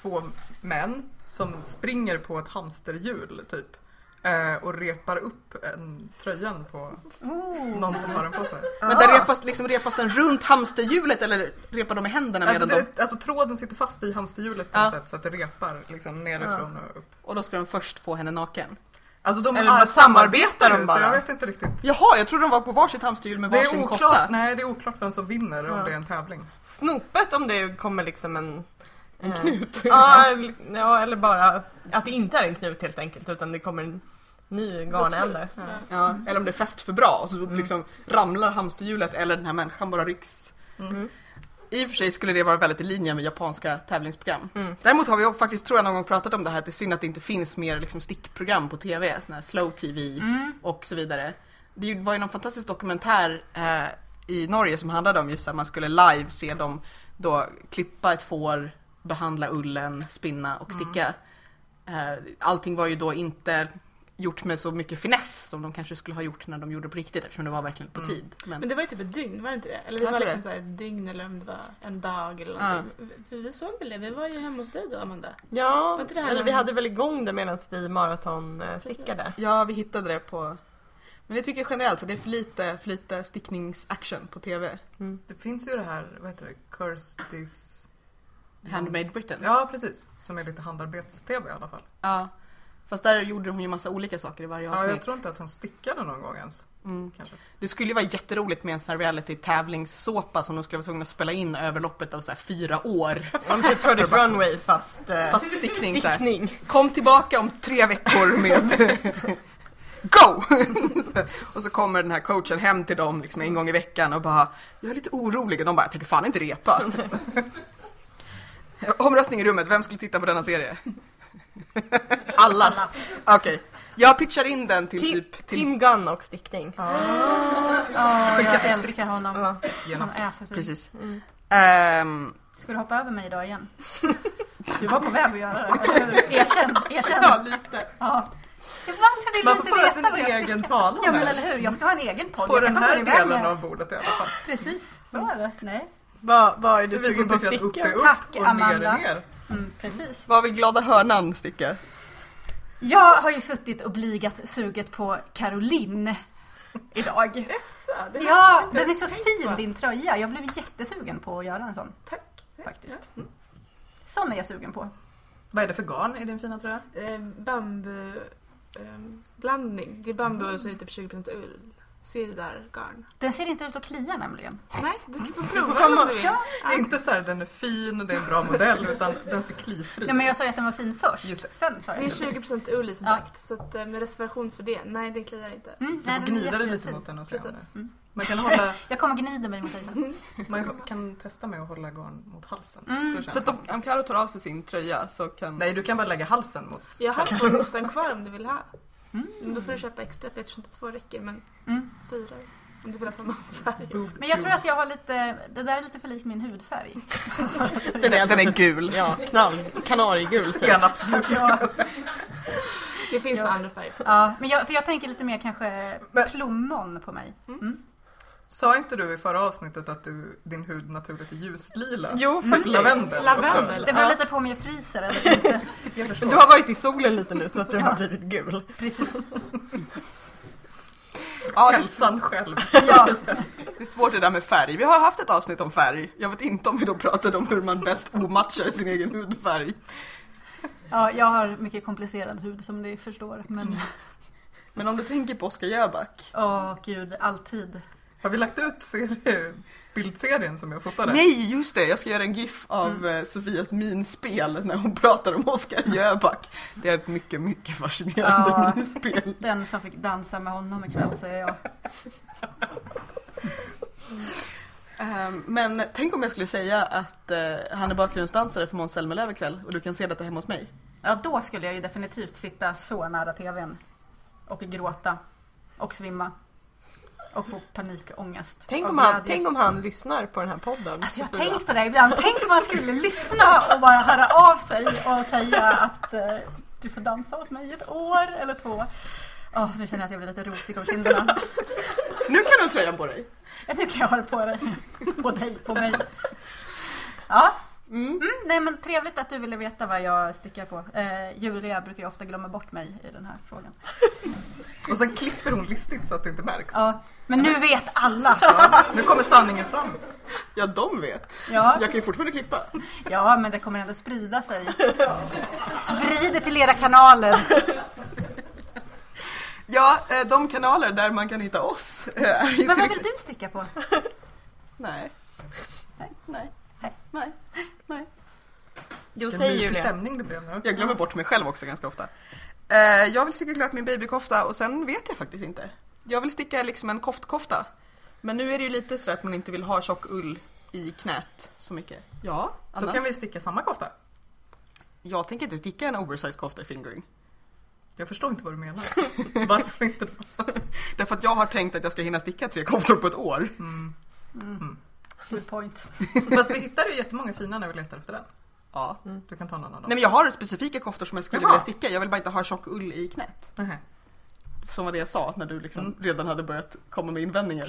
[SPEAKER 2] två män som springer på ett hamsterhjul typ eh, och repar upp en tröjan på
[SPEAKER 1] Oh.
[SPEAKER 2] någon som har den på sig.
[SPEAKER 1] Men
[SPEAKER 2] Ah.
[SPEAKER 1] där repas, liksom, repas den runt hamsterhjulet eller repar de med händerna
[SPEAKER 2] Alltså,
[SPEAKER 1] medan de...
[SPEAKER 2] det, alltså tråden sitter fast i hamsterhjulet på
[SPEAKER 1] Ja.
[SPEAKER 2] något sätt så att det repar liksom nerifrån och upp.
[SPEAKER 1] Och då ska de först få henne naken.
[SPEAKER 2] Alltså de
[SPEAKER 3] Eller bara
[SPEAKER 2] är-
[SPEAKER 3] samarbetar de
[SPEAKER 2] ju,
[SPEAKER 3] bara.
[SPEAKER 2] Så jag vet inte riktigt.
[SPEAKER 1] Jaha, jag trodde de var på varsitt hamsterhjul med
[SPEAKER 2] Det är,
[SPEAKER 1] varsin
[SPEAKER 2] oklart, Mm.
[SPEAKER 1] kofta.
[SPEAKER 2] nej, det är oklart vem som vinner
[SPEAKER 3] Ja.
[SPEAKER 2] om det är en tävling.
[SPEAKER 3] Snopet om det kommer liksom en... En
[SPEAKER 1] knut.
[SPEAKER 3] *laughs* Ja, eller- ja, eller bara att det inte är en knut helt enkelt utan det kommer en ny garnände.
[SPEAKER 1] Ja, eller om det är fest för bra och så
[SPEAKER 2] Mm.
[SPEAKER 1] liksom ramlar hamsterhjulet eller den här människan bara rycks.
[SPEAKER 2] Mm.
[SPEAKER 1] I och för sig skulle det vara väldigt i linje med japanska tävlingsprogram.
[SPEAKER 3] Mm.
[SPEAKER 1] Däremot har vi ju faktiskt, tror jag, någon gång pratat om det här att det är synd att det inte finns mer liksom, stickprogram på TV, sån här slow TV och så vidare. Det ju- var ju någon fantastisk dokumentär eh, i Norge som handlade om just att man skulle live se dem då klippa ett får, behandla ullen, spinna och sticka. Eh, allting var ju då inte gjort med så mycket finess som de kanske skulle ha gjort när de gjorde det på riktigt eftersom det var verkligen på
[SPEAKER 2] Mm.
[SPEAKER 1] tid. Men,
[SPEAKER 5] Men det var ju typ ett dygn, var det inte det? Eller det
[SPEAKER 1] Jag
[SPEAKER 5] var
[SPEAKER 1] tror
[SPEAKER 5] liksom så här ett dygn eller om det var en dag eller
[SPEAKER 1] Ja.
[SPEAKER 5] någonting. För vi såg väl det, vi var ju hemma hos dig då Amanda.
[SPEAKER 3] Ja,
[SPEAKER 5] inte det här
[SPEAKER 3] eller
[SPEAKER 5] någon-
[SPEAKER 3] vi hade väl igång det medan vi eh, maratonstickade.
[SPEAKER 1] Ja, vi hittade det på... Men jag tycker generellt att det är för lite, för lite stickningsaction på TV.
[SPEAKER 2] Det finns ju det här, vad heter det, Kirstys...
[SPEAKER 1] Mm. Handmade Britain.
[SPEAKER 2] Ja, precis. Som är lite handarbets-tv i alla fall.
[SPEAKER 1] Ja. Fast där gjorde hon ju massa olika saker i varje
[SPEAKER 2] Ja,
[SPEAKER 1] avsnitt.
[SPEAKER 2] jag tror inte att hon stickade någon gång ens. *laughs*
[SPEAKER 1] mm.
[SPEAKER 2] Kanske.
[SPEAKER 1] Det skulle ju vara jätteroligt med en sån här reality-tävlingssåpa som de skulle vara tvungna att spela in över loppet av så här fyra *laughs* år.
[SPEAKER 3] Om typ Project Runway fast, eh,
[SPEAKER 1] Fast stickning så här.
[SPEAKER 3] stickning.
[SPEAKER 1] Kom tillbaka om tre veckor med *laughs* Go! och så kommer den här coachen hem till dem liksom en gång i veckan och bara Jag är lite orolig och de bara jag tänker fan inte repa. *laughs* Omröstning i rummet, vem skulle titta på denna serie?
[SPEAKER 3] Alla.
[SPEAKER 1] Okej, jag pitchar in den till
[SPEAKER 3] Tim,
[SPEAKER 1] typ till
[SPEAKER 3] Tim Gunn och stickning.
[SPEAKER 4] Åh, jag älskar honom.
[SPEAKER 3] Ja.
[SPEAKER 4] Han
[SPEAKER 2] Genast.
[SPEAKER 4] är så fin.
[SPEAKER 1] Precis. Ehm,
[SPEAKER 4] Ska du hoppa över mig idag igen? Du var på väg att göra det. eller hur? Erkänn, erkänn.
[SPEAKER 1] ja, lite.
[SPEAKER 4] Ja. Varför vill
[SPEAKER 2] Man
[SPEAKER 4] du
[SPEAKER 2] får
[SPEAKER 4] inte veta
[SPEAKER 2] föra sin
[SPEAKER 4] vad jag ska-
[SPEAKER 2] egen talan
[SPEAKER 4] Ja men
[SPEAKER 2] här.
[SPEAKER 4] eller hur, jag ska ha en egen podd.
[SPEAKER 2] På
[SPEAKER 4] Jag
[SPEAKER 2] den
[SPEAKER 4] kanske
[SPEAKER 2] här
[SPEAKER 4] går iväg
[SPEAKER 2] delen
[SPEAKER 4] med-
[SPEAKER 2] av bordet i alla fall.
[SPEAKER 4] Precis, så är det. Nej.
[SPEAKER 3] Vad vad är
[SPEAKER 2] Det
[SPEAKER 3] du
[SPEAKER 2] är vi
[SPEAKER 3] sugen
[SPEAKER 2] som
[SPEAKER 3] på att
[SPEAKER 2] tycker att upp är
[SPEAKER 3] sticka?
[SPEAKER 2] upp
[SPEAKER 4] Tack,
[SPEAKER 2] och ner
[SPEAKER 4] Amanda.
[SPEAKER 2] är ner.
[SPEAKER 4] Mm, precis.
[SPEAKER 1] Vad vill glada hönan sticka?
[SPEAKER 4] Jag har ju suttit och bligat suget på Caroline idag.
[SPEAKER 5] Jaså, det
[SPEAKER 4] Ja,
[SPEAKER 5] inte
[SPEAKER 4] den är
[SPEAKER 5] ens
[SPEAKER 4] så
[SPEAKER 5] tänkt
[SPEAKER 4] fin
[SPEAKER 5] på.
[SPEAKER 4] din tröja. Jag blev jättesugen på att göra en sån
[SPEAKER 5] Tack.
[SPEAKER 4] faktiskt. Sån är jag sugen på.
[SPEAKER 2] Vad är det för garn i din fina tröja?
[SPEAKER 5] ehm, Eh, bambu... ehm, blandning. Det är bambu och så är det typ 20% ull. sirdargarn.
[SPEAKER 4] Den ser inte ut att klia nämligen.
[SPEAKER 5] Nej, du kan få prova om du vill. Ja.
[SPEAKER 2] Inte så här den är fin och det är en bra modell utan den ser klifri
[SPEAKER 4] Ja, men jag sa ju att den var fin först.
[SPEAKER 2] Just det.
[SPEAKER 4] Sen sa
[SPEAKER 5] Det är
[SPEAKER 4] jag
[SPEAKER 5] 20% ull i som
[SPEAKER 4] Ja.
[SPEAKER 5] sagt, så att, eh, med reservation för det. Nej, den kliar inte.
[SPEAKER 4] Mm,
[SPEAKER 2] Du
[SPEAKER 4] nej,
[SPEAKER 2] får
[SPEAKER 4] den är
[SPEAKER 2] gnida dig lite
[SPEAKER 4] jättefin.
[SPEAKER 2] mot den och se om
[SPEAKER 5] Precis.
[SPEAKER 2] det. Man kan, hålla,
[SPEAKER 4] Jag kommer gnida mig mot dig
[SPEAKER 2] *laughs* man kan testa med att hålla garn mot halsen.
[SPEAKER 4] Mm,
[SPEAKER 2] Då känns
[SPEAKER 1] Så att
[SPEAKER 2] det.
[SPEAKER 1] om, om Karo tar av sig sin tröja så kan...
[SPEAKER 2] Nej, du kan bara lägga halsen mot.
[SPEAKER 5] Jag har två nystan kvar om du vill ha.
[SPEAKER 4] Mm.
[SPEAKER 5] Men då får du köpa extra för jag tror inte två räcker men
[SPEAKER 4] Mm.
[SPEAKER 5] fyra om du vill ha
[SPEAKER 4] *laughs*
[SPEAKER 5] samma färg.
[SPEAKER 4] Men jag tror att jag har lite, det där är lite för lik min
[SPEAKER 2] *laughs*
[SPEAKER 4] hudfärg.
[SPEAKER 3] Den är, alltså typ-
[SPEAKER 1] Den är gul.
[SPEAKER 3] Ja, knall, kanariegul typ.
[SPEAKER 2] Senapsgul.
[SPEAKER 5] Det finns
[SPEAKER 4] Ja.
[SPEAKER 5] några andra färger på.
[SPEAKER 4] Ja, men jag, för jag tänker lite mer kanske
[SPEAKER 2] Men-
[SPEAKER 4] plommon på mig.
[SPEAKER 2] Sa inte du i förra avsnittet att du, din hud naturligt är ljuslila?
[SPEAKER 1] Jo,
[SPEAKER 2] Mm. Lavendel.
[SPEAKER 5] Lavendel.
[SPEAKER 2] också.
[SPEAKER 4] Det beror lite på om jag fryser eller inte.
[SPEAKER 2] *laughs* Jag förstår.
[SPEAKER 3] Men Du har varit i solen lite nu så att du har blivit gul.
[SPEAKER 4] *laughs* Precis.
[SPEAKER 1] Ja, det, är,
[SPEAKER 2] Hälsan själv.
[SPEAKER 4] Ja.
[SPEAKER 1] det är svårt det där med färg. Vi har haft ett avsnitt om färg. Jag vet inte om vi då pratade om hur man bäst omatchar sin egen hudfärg.
[SPEAKER 4] ja, jag har mycket komplicerad hud som ni förstår.
[SPEAKER 2] Mm.
[SPEAKER 4] Men
[SPEAKER 1] Men om du tänker på Oskar Jöback.
[SPEAKER 4] åh gud, alltid.
[SPEAKER 2] Har vi lagt ut serie, bildserien som jag fotade?
[SPEAKER 1] Nej, just det! Jag ska göra en GIF av eh, Sofias minspel när hon pratar om Oskar Jöback. Det är ett mycket, mycket fascinerande
[SPEAKER 4] Ja.
[SPEAKER 1] minspel.
[SPEAKER 4] Den som fick dansa med honom ikväll säger jag.
[SPEAKER 1] Ehm, men tänk om jag skulle säga att eh, han är bakgrundsdansare för Måns Zelmerlöw ikväll och du kan se detta hemma hos mig.
[SPEAKER 4] Ja, då skulle jag ju definitivt sitta så nära TVn. Och gråta. Och svimma. Och få panikångest.
[SPEAKER 3] Tänk
[SPEAKER 4] av
[SPEAKER 3] om, han,
[SPEAKER 4] glädje.
[SPEAKER 3] tänk om han lyssnar på den här podden.
[SPEAKER 4] Alltså jag har tänkt på det ibland. Tänk om man skulle lyssna och bara höra av sig och säga att eh, du får dansa hos mig ett år eller två. Åh, nu känner jag att jag blir lite rosig om kinderna.
[SPEAKER 1] Nu kan du ha tröjan på dig!
[SPEAKER 4] Ja, nu kan jag ha det på dig. På dig, på mig. Ja,
[SPEAKER 1] Mm.
[SPEAKER 4] mm, nej men trevligt att du ville veta vad jag stickar på. Eh, Julia brukar ju ofta glömma bort mig i den här frågan.
[SPEAKER 2] *laughs* Och sen klipper hon listigt så att det inte märks.
[SPEAKER 4] Ja, men nu vet alla.
[SPEAKER 2] Nu kommer sanningen fram.
[SPEAKER 1] Ja, de vet.
[SPEAKER 4] Ja,
[SPEAKER 1] Jag kan ju fortfarande klippa.
[SPEAKER 4] ja, men det kommer ändå sprida sig. Sprid det till era kanaler.
[SPEAKER 1] Ja, eh, de kanaler där man kan hitta oss eh, är ju
[SPEAKER 4] Men
[SPEAKER 1] till
[SPEAKER 4] vad vill
[SPEAKER 1] exempel...
[SPEAKER 4] du sticka på?
[SPEAKER 1] Nej.
[SPEAKER 4] Nej.
[SPEAKER 1] Nej.
[SPEAKER 4] Nej.
[SPEAKER 1] Nej.
[SPEAKER 3] Jo,
[SPEAKER 2] Vilken
[SPEAKER 3] säg
[SPEAKER 2] mysig
[SPEAKER 3] Julia.
[SPEAKER 2] stämning det blev nu.
[SPEAKER 1] Jag glömmer bort mig själv också ganska ofta. Eh, jag vill sticka klart min babykofta och sen vet jag faktiskt inte. Jag vill sticka liksom en koftkofta. Men nu är det ju lite så att man inte vill ha tjock ull i knät så mycket. Ja,
[SPEAKER 2] Då
[SPEAKER 1] Anna?
[SPEAKER 2] kan vi sticka samma kofta.
[SPEAKER 1] Jag tänker inte sticka en oversized kofta i fingering.
[SPEAKER 2] Jag förstår inte vad du menar. *laughs* Varför inte?
[SPEAKER 1] *laughs* Därför att jag har tänkt att jag ska hinna sticka tre koftor på ett år.
[SPEAKER 2] Mm.
[SPEAKER 4] Mm. Good point.
[SPEAKER 2] Fast vi hittade ju jättemånga fina när vi letade efter den.
[SPEAKER 1] Ja.
[SPEAKER 2] Du kan ta någon av
[SPEAKER 1] Nej men
[SPEAKER 2] dem.
[SPEAKER 1] jag har specifika koftor som jag skulle
[SPEAKER 2] Jaha.
[SPEAKER 1] vilja sticka. Jag vill bara inte ha tjock ull i knät.
[SPEAKER 2] Nähä.
[SPEAKER 1] Som var det jag sa när du liksom
[SPEAKER 2] Mm.
[SPEAKER 1] redan hade börjat komma med invändningar.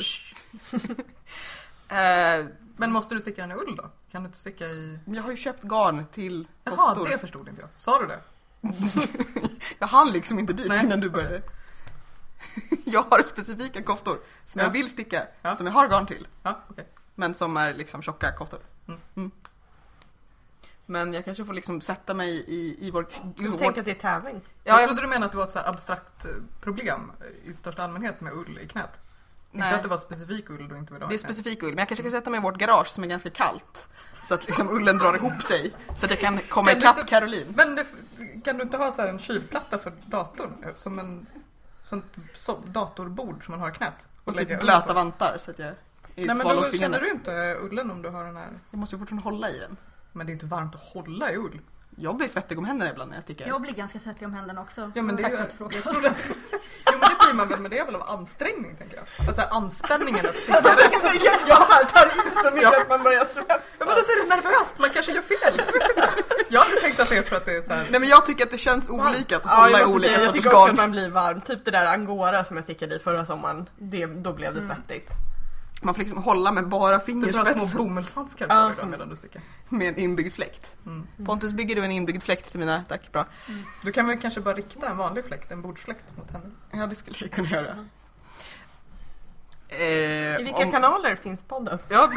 [SPEAKER 1] eh,
[SPEAKER 2] Men måste du sticka den i ull då? Kan du inte sticka i...
[SPEAKER 1] men jag har ju köpt garn till
[SPEAKER 2] Jaha,
[SPEAKER 1] koftor.
[SPEAKER 2] det förstod inte jag. Sa du det?
[SPEAKER 1] *laughs* Jag hann liksom inte dit
[SPEAKER 2] Nej.
[SPEAKER 1] innan du började. *laughs* jag har specifika koftor som
[SPEAKER 2] Ja.
[SPEAKER 1] jag vill sticka,
[SPEAKER 2] Ja.
[SPEAKER 1] som jag har garn till.
[SPEAKER 2] Ja, okej.
[SPEAKER 1] Men som är liksom tjocka koftor.
[SPEAKER 2] Mm.
[SPEAKER 1] Mm. Men jag kanske får liksom sätta mig i, i vår... i
[SPEAKER 3] Du
[SPEAKER 1] vår-
[SPEAKER 3] tänker att det
[SPEAKER 1] *laughs*
[SPEAKER 3] är tävling.
[SPEAKER 1] ja,
[SPEAKER 2] jag
[SPEAKER 1] jag,
[SPEAKER 2] trodde du menade att det var ett så här abstrakt eh, problem i största allmänhet med ull i knät. Inte
[SPEAKER 1] nej,
[SPEAKER 2] att det var specifik ull du inte ville ha
[SPEAKER 1] det
[SPEAKER 2] i
[SPEAKER 1] är
[SPEAKER 2] knät.
[SPEAKER 1] specifik ull. Men jag kanske kan sätta mig i vårt garage som är ganska kallt. Så att liksom ullen drar ihop sig. Så att jag kan komma
[SPEAKER 2] Kan du
[SPEAKER 1] ikapp
[SPEAKER 2] inte-
[SPEAKER 1] Caroline.
[SPEAKER 2] Men det, kan du inte ha så här en kylplatta för datorn? eh, Som en sånt som datorbord som man har i knät?
[SPEAKER 1] Och
[SPEAKER 2] lägga
[SPEAKER 1] typ
[SPEAKER 2] ull
[SPEAKER 1] blöta
[SPEAKER 2] på.
[SPEAKER 1] vantar så att jag är
[SPEAKER 2] Nej men
[SPEAKER 1] sval om
[SPEAKER 2] då
[SPEAKER 1] fingrarna.
[SPEAKER 2] känner du inte eh, ullen om du har den här.
[SPEAKER 1] Jag måste ju fortfarande hålla i den.
[SPEAKER 2] Men det är inte varmt att hålla i ull.
[SPEAKER 1] Jag blir svettig om händerna ibland när jag stickar.
[SPEAKER 4] Jag blir ganska svettig om händerna också.
[SPEAKER 2] Ja, men det är
[SPEAKER 4] Tack
[SPEAKER 2] ju-
[SPEAKER 4] för att fråga.
[SPEAKER 2] Jag tror det. Jo men det blir man väl, men det är väl av ansträngning tänker jag. Att så här, anspänningen att sticka rätt.
[SPEAKER 1] *laughs*
[SPEAKER 3] Jag tar i så mycket att man börjar svettas.
[SPEAKER 2] Ja men då är det nervöst, man kanske gör fel. *laughs* Jag hade tänkt att det är för att det är så här.
[SPEAKER 1] Nej men jag tycker att det känns olika att
[SPEAKER 3] Ja,
[SPEAKER 1] hålla i
[SPEAKER 3] jag, måste
[SPEAKER 1] olika
[SPEAKER 3] säga, jag
[SPEAKER 1] sorters
[SPEAKER 3] tycker också att
[SPEAKER 1] garn.
[SPEAKER 3] man blir varm. Typ det där angora som jag stickade i förra sommaren. Det, då blev det
[SPEAKER 1] Mm.
[SPEAKER 3] svettigt.
[SPEAKER 1] Man får liksom hålla med bara
[SPEAKER 2] Du får ha
[SPEAKER 1] fingerspetsen
[SPEAKER 2] små bomullshandskar
[SPEAKER 3] Ja,
[SPEAKER 2] på dig då
[SPEAKER 3] som-
[SPEAKER 2] medan du stickar.
[SPEAKER 1] med en inbyggd fläkt.
[SPEAKER 2] Mm.
[SPEAKER 1] Pontus, bygger du en inbyggd fläkt till mina? Tack, bra.
[SPEAKER 2] Du kan väl kanske bara rikta en vanlig fläkt, en bordsfläkt mot henne.
[SPEAKER 1] Ja, det skulle jag kunna göra. Eh,
[SPEAKER 3] I vilka
[SPEAKER 1] om-
[SPEAKER 3] kanaler finns podden?
[SPEAKER 1] Ja.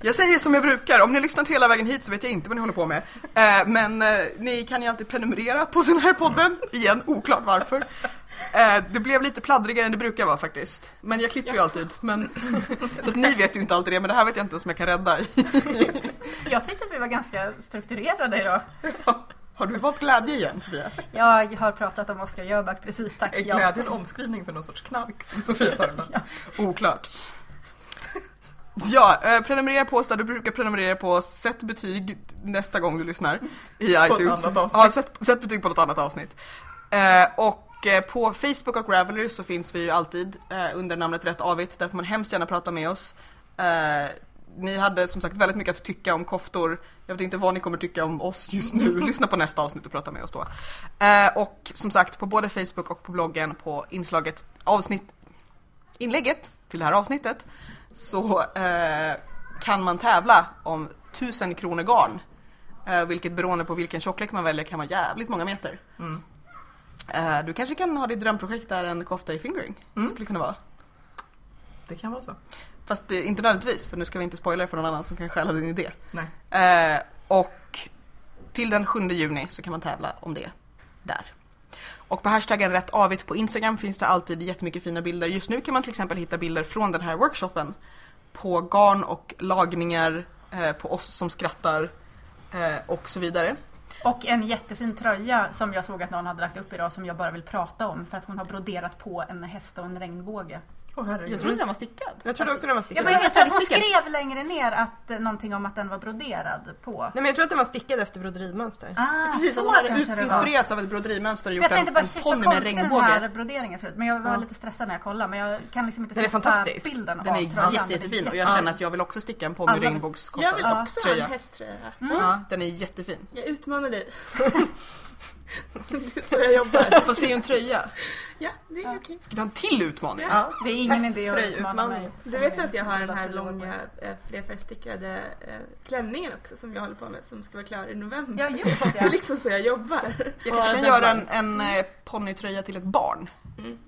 [SPEAKER 1] Jag säger som jag brukar, om ni har lyssnat hela vägen hit så vet jag inte vad ni håller på med. Eh, men eh, ni kan ju alltid prenumerera på den här podden, igen, oklart varför. Eh, det blev lite pladdrigare än det brukar vara faktiskt. Men jag klipper ju alltid. Men, så att ni vet ju inte alltid det, men det här vet jag inte ens om jag kan rädda.
[SPEAKER 4] Jag tyckte att vi var ganska strukturerade idag.
[SPEAKER 1] Har du valt glädje igen Sofia?
[SPEAKER 4] Jag har pratat om Oskar Jöback precis, tack.
[SPEAKER 2] Är
[SPEAKER 4] Jag,
[SPEAKER 2] glädje en omskrivning för någon sorts knark som Sofia tar *laughs* ibland?
[SPEAKER 1] Oklart. Ja, eh, prenumerera på oss där du brukar prenumerera på oss. Sätt betyg nästa gång du lyssnar i iTunes.
[SPEAKER 2] annat avsnitt.
[SPEAKER 1] ja, sätt, sätt betyg på något annat avsnitt. Eh, och eh, på Facebook och Ravelry så finns vi ju alltid eh, under namnet Rätt Avigt. Där får man hemskt gärna prata med oss. Eh, ni hade som sagt väldigt mycket att tycka om koftor. Jag vet inte vad ni kommer tycka om oss just
[SPEAKER 2] *laughs*
[SPEAKER 1] nu. Lyssna på nästa avsnitt och prata med oss då. Eh, och som sagt på både Facebook och på bloggen på inslaget avsnitt inlägget till det här avsnittet så eh, kan man tävla om 1000 kronor garn. Eh, vilket beroende på vilken tjocklek man väljer kan vara jävligt många meter.
[SPEAKER 2] Mm.
[SPEAKER 1] Eh, du kanske kan ha ditt drömprojekt där en kofta i fingering skulle kunna vara.
[SPEAKER 2] Det kan vara så.
[SPEAKER 1] Fast det, inte nödvändigtvis för nu ska vi inte spoila för någon annan som kan stjäla din idé.
[SPEAKER 2] Nej.
[SPEAKER 1] Eh, och till den 7 juni så kan man tävla om det där. Och på hashtaggen rätt avigt på Instagram finns det alltid jättemycket fina bilder. Just nu kan man till exempel hitta bilder från den här workshopen på garn och lagningar, eh, på oss som skrattar eh, och så vidare.
[SPEAKER 4] och en jättefin tröja som jag såg att någon hade lagt upp idag som jag bara vill prata om för att hon har broderat på en häst och en regnbåge.
[SPEAKER 2] Åh herregud.
[SPEAKER 1] Jag trodde den var stickad.
[SPEAKER 3] Jag trodde
[SPEAKER 4] Alltså,
[SPEAKER 3] också den var stickad.
[SPEAKER 4] Jag, jag tror att hon skrev längre ner att, eh, någonting om att den var broderad på.
[SPEAKER 3] Nej men jag tror att den var stickad efter broderimönster.
[SPEAKER 4] Ah,
[SPEAKER 1] Ah, Precis, att
[SPEAKER 4] så
[SPEAKER 1] hon hade
[SPEAKER 4] kanske
[SPEAKER 1] ut-
[SPEAKER 4] det var.
[SPEAKER 1] inspirerats av ett broderimönster och
[SPEAKER 4] För
[SPEAKER 1] gjort
[SPEAKER 4] jag
[SPEAKER 1] en,
[SPEAKER 4] tänkte bara
[SPEAKER 1] en
[SPEAKER 4] shit vad
[SPEAKER 1] ponny med en
[SPEAKER 4] konstig den här
[SPEAKER 1] regnbåge.
[SPEAKER 4] broderingen ser ut. Men jag var
[SPEAKER 1] Ja.
[SPEAKER 4] lite stressad när jag kollade men jag kan liksom inte
[SPEAKER 3] Den är
[SPEAKER 4] släppa
[SPEAKER 3] fantastisk.
[SPEAKER 4] bilden
[SPEAKER 1] Den
[SPEAKER 4] av
[SPEAKER 1] är
[SPEAKER 4] tröjan.
[SPEAKER 1] jätte,
[SPEAKER 4] Den är
[SPEAKER 1] jättefin och jag
[SPEAKER 4] jätte-
[SPEAKER 1] känner att jag vill också sticka en ponny
[SPEAKER 4] Alla-
[SPEAKER 1] regnbågskofta.
[SPEAKER 5] Jag vill
[SPEAKER 4] Ja.
[SPEAKER 5] också ha
[SPEAKER 1] Tröja.
[SPEAKER 5] en hästtröja.
[SPEAKER 4] Mm.
[SPEAKER 1] Ja, den är jättefin.
[SPEAKER 5] Jag utmanar
[SPEAKER 4] *laughs*
[SPEAKER 5] dig. *laughs* det är så jag jobbar.
[SPEAKER 1] Fast det är ju en tröja.
[SPEAKER 5] Ja, det är okej.
[SPEAKER 1] Ska vi ha en till utmaning?
[SPEAKER 3] Ja.
[SPEAKER 4] Det är ingen idé att
[SPEAKER 3] Hästtröjutmaning.
[SPEAKER 4] utmana mig.
[SPEAKER 5] Du vet att jag har den här långa eh, flerfärgstickade eh, klänningen också som jag håller på med som ska vara klar i november.
[SPEAKER 4] Ja
[SPEAKER 5] *laughs*
[SPEAKER 4] just
[SPEAKER 5] Det är
[SPEAKER 4] det.
[SPEAKER 5] liksom så jag jobbar.
[SPEAKER 1] Jag kanske kan göra en, en eh, ponnytröja till ett barn.
[SPEAKER 5] Mm.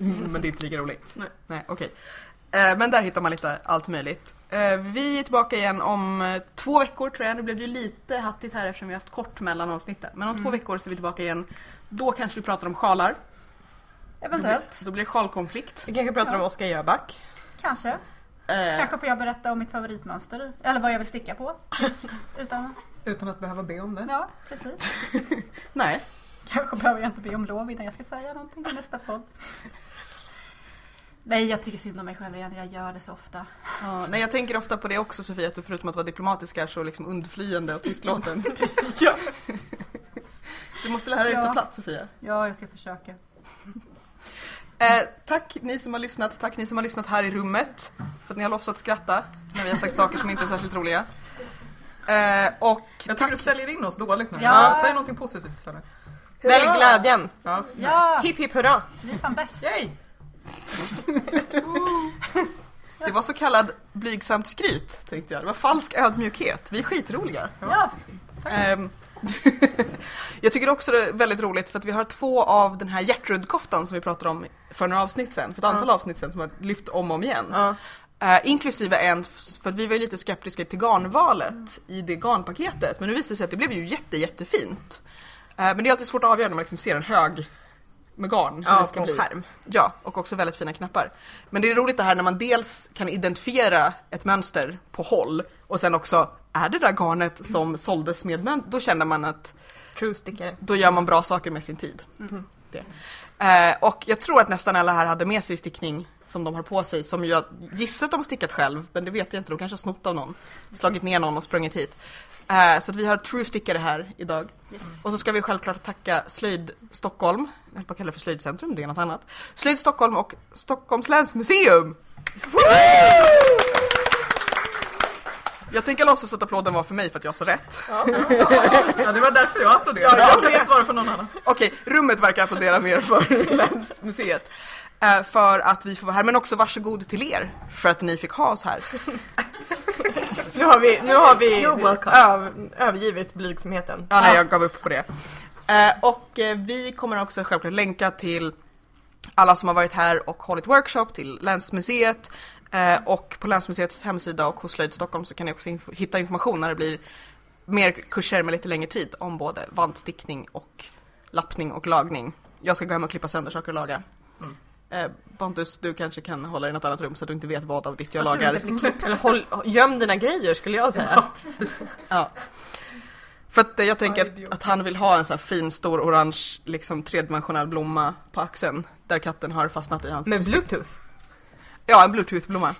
[SPEAKER 1] Mm, Men det är inte lika roligt.
[SPEAKER 5] Nej.
[SPEAKER 1] Nej, okej. Eh, Men där hittar man lite allt möjligt. Eh, Vi är tillbaka igen om eh, två veckor tror jag. Nu blev det ju lite hattigt här eftersom vi har haft kort mellan avsnitten. Men om två veckor så är vi tillbaka igen. Då kanske vi pratar om sjalar.
[SPEAKER 4] Eventuellt.
[SPEAKER 1] Då blir det sjalkonflikt.
[SPEAKER 3] Vi kanske pratar om Oskar Jöback.
[SPEAKER 4] Kanske.
[SPEAKER 1] Eh,
[SPEAKER 4] Kanske får jag berätta om mitt favoritmönster. Eller vad jag vill sticka på. Utan,
[SPEAKER 2] Utan att behöva be om det.
[SPEAKER 4] ja, precis.
[SPEAKER 1] Nej.
[SPEAKER 4] Kanske behöver jag inte be om lov innan jag ska säga någonting i nästa podd. Nej, jag tycker synd om mig själv igen. Jag gör det så ofta.
[SPEAKER 1] Ja, nej, jag tänker ofta på det också Sofia, att du förutom att vara diplomatisk är så liksom undflyende och
[SPEAKER 4] *laughs*
[SPEAKER 1] tystlåten. *laughs* Du måste lära dig att ta
[SPEAKER 4] Ja.
[SPEAKER 1] plats Sofia.
[SPEAKER 4] Ja, jag ska försöka.
[SPEAKER 1] Eh, tack ni som har lyssnat, tack ni som har lyssnat här i rummet för att ni har låtsats skratta när vi har sagt saker som inte är särskilt roliga. Eh, och
[SPEAKER 2] Jag tycker
[SPEAKER 1] tack,
[SPEAKER 2] du säljer in oss dåligt nu.
[SPEAKER 4] Ja.
[SPEAKER 2] Säg någonting positivt istället.
[SPEAKER 3] Välj glädjen.
[SPEAKER 2] Ja.
[SPEAKER 4] Ja,
[SPEAKER 3] Hipp hipp hurra.
[SPEAKER 4] vi är fan bäst.
[SPEAKER 2] Yay!
[SPEAKER 1] *laughs* det var så kallad blygsamt skryt tänkte jag. Det var falsk ödmjukhet. Vi är skitroliga.
[SPEAKER 4] Ja,
[SPEAKER 1] Ehm, *laughs* jag tycker också det är väldigt roligt för att vi har två av den här Gertrud-koftan som vi pratade om för några avsnitt sen, för ett antal avsnitt sen som har lyft om och om igen.
[SPEAKER 3] Ja.
[SPEAKER 1] Eh, inklusive en, f- för att vi var ju lite skeptiska till garnvalet i det garnpaketet. Men nu visar det sig att det blev ju jätte, jättefint. Eh, men det är alltid svårt att avgöra när man liksom ser en hög med garn. hur
[SPEAKER 3] Ja,
[SPEAKER 1] det ska
[SPEAKER 3] på
[SPEAKER 1] bli.
[SPEAKER 3] skärm.
[SPEAKER 1] Ja, och också väldigt fina knappar. Men det är roligt det här när man dels kan identifiera ett mönster på håll och sen också är det där garnet som såldes med mönster, då känner man att
[SPEAKER 3] True stickare.
[SPEAKER 1] Eh, då gör man bra saker med sin tid. Det. Eh, och jag tror att nästan alla här hade med sig stickning som de har på sig som jag gissar att de har stickat själv men det vet jag inte, de kanske har snott av någon. Slagit ner någon och sprungit hit. Eh, så att vi har true stickare här idag. Och så ska vi självklart tacka Slöjd Stockholm, jag höll på att kalla det för Slöjdcentrum, det är något annat. Slöjd Stockholm och Stockholms läns museum! Jag tänker låtsas att applåden var för mig för att jag sa rätt.
[SPEAKER 2] Ja, det var därför jag applåderade. Jag kan inte svara för någon annan.
[SPEAKER 1] Okej, rummet verkar applådera mer för *laughs* Länsmuseet. Eh, För att vi får vara här, men också varsågod till er för att ni fick ha oss här.
[SPEAKER 3] Nu har vi, nu har
[SPEAKER 1] *laughs*
[SPEAKER 3] vi
[SPEAKER 2] You're welcome.
[SPEAKER 3] öv, övergivit blygsamheten.
[SPEAKER 1] Ja, nej, jag gav upp på det. Eh, Och eh, vi kommer också självklart länka till alla som har varit här och hållit workshop till Länsmuseet. Eh, Och på Länsmuseets hemsida och hos Slöjd Stockholm så kan ni också inf- hitta information när det blir mer kurser med lite längre tid om både vantstickning och lappning och lagning Jag ska gå hem och klippa sönder saker och laga.
[SPEAKER 2] Mm.
[SPEAKER 1] Eh, Pontus, du kanske kan hålla i något annat rum så att du inte vet vad av ditt jag
[SPEAKER 3] Så att du
[SPEAKER 1] lagar.
[SPEAKER 3] inte blir klippt. Eller håll, göm dina grejer skulle jag säga.
[SPEAKER 2] Ja, precis.
[SPEAKER 1] Ja. För att eh, jag tänker
[SPEAKER 2] Ja, idiot.
[SPEAKER 1] att, att han vill ha en så här fin stor orange liksom tredimensionell blomma på axeln där katten har fastnat i hans
[SPEAKER 3] Med bluetooth.
[SPEAKER 1] Ja, en bluetooth-blomma.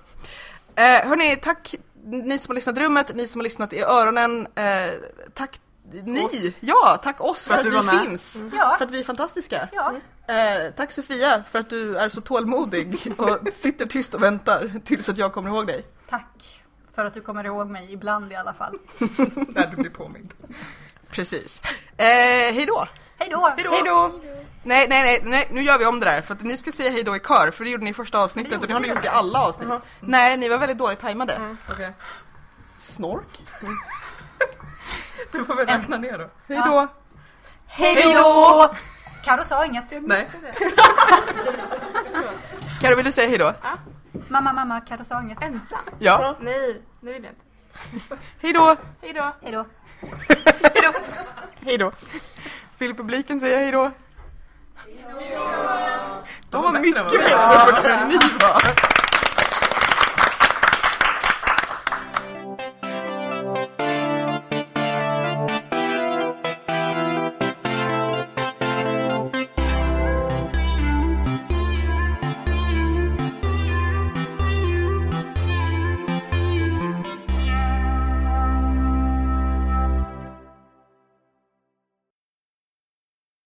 [SPEAKER 1] Eh, hörni, tack ni som har lyssnat i rummet, ni som har lyssnat i öronen. Eh, tack ni! Ja, tack oss för,
[SPEAKER 2] att
[SPEAKER 1] att,
[SPEAKER 2] du
[SPEAKER 1] vi
[SPEAKER 2] var med. Mm.
[SPEAKER 1] finns.
[SPEAKER 4] Ja.
[SPEAKER 1] För att vi är fantastiska.
[SPEAKER 4] Ja.
[SPEAKER 1] Eh, tack Sofia för att du är så tålmodig
[SPEAKER 2] *laughs*
[SPEAKER 1] och sitter tyst och väntar tills att jag kommer ihåg dig.
[SPEAKER 4] Tack för att du kommer ihåg mig ibland i alla fall.
[SPEAKER 2] När du blir påmind.
[SPEAKER 1] Precis. Eh, hej då!
[SPEAKER 4] Hej då!
[SPEAKER 1] då! Nej, nej, nej, nej, nu gör vi om det där för att ni ska säga hej då i kör för det gjorde ni i första avsnittet och det har ni gjort i alla avsnitt. Mm. Nej, ni var väldigt dåligt tajmade.
[SPEAKER 2] Okej,
[SPEAKER 1] Snork.
[SPEAKER 2] du får väl räkna ner då.
[SPEAKER 1] Hej då!
[SPEAKER 4] Hej då! Karo sa inget.
[SPEAKER 2] Nej,
[SPEAKER 1] Karo, vill du säga hej då?
[SPEAKER 4] Mamma, mamma, Karo sa inget.
[SPEAKER 5] Ensam?
[SPEAKER 1] Ja.
[SPEAKER 5] Nej, nu vill jag inte.
[SPEAKER 1] Hej då!
[SPEAKER 5] Hej då.
[SPEAKER 4] Hej då!
[SPEAKER 1] Hej då! Vill publiken säga hej då? De var
[SPEAKER 2] bättre än
[SPEAKER 1] mycket
[SPEAKER 2] vad
[SPEAKER 1] bättre på det än ni var.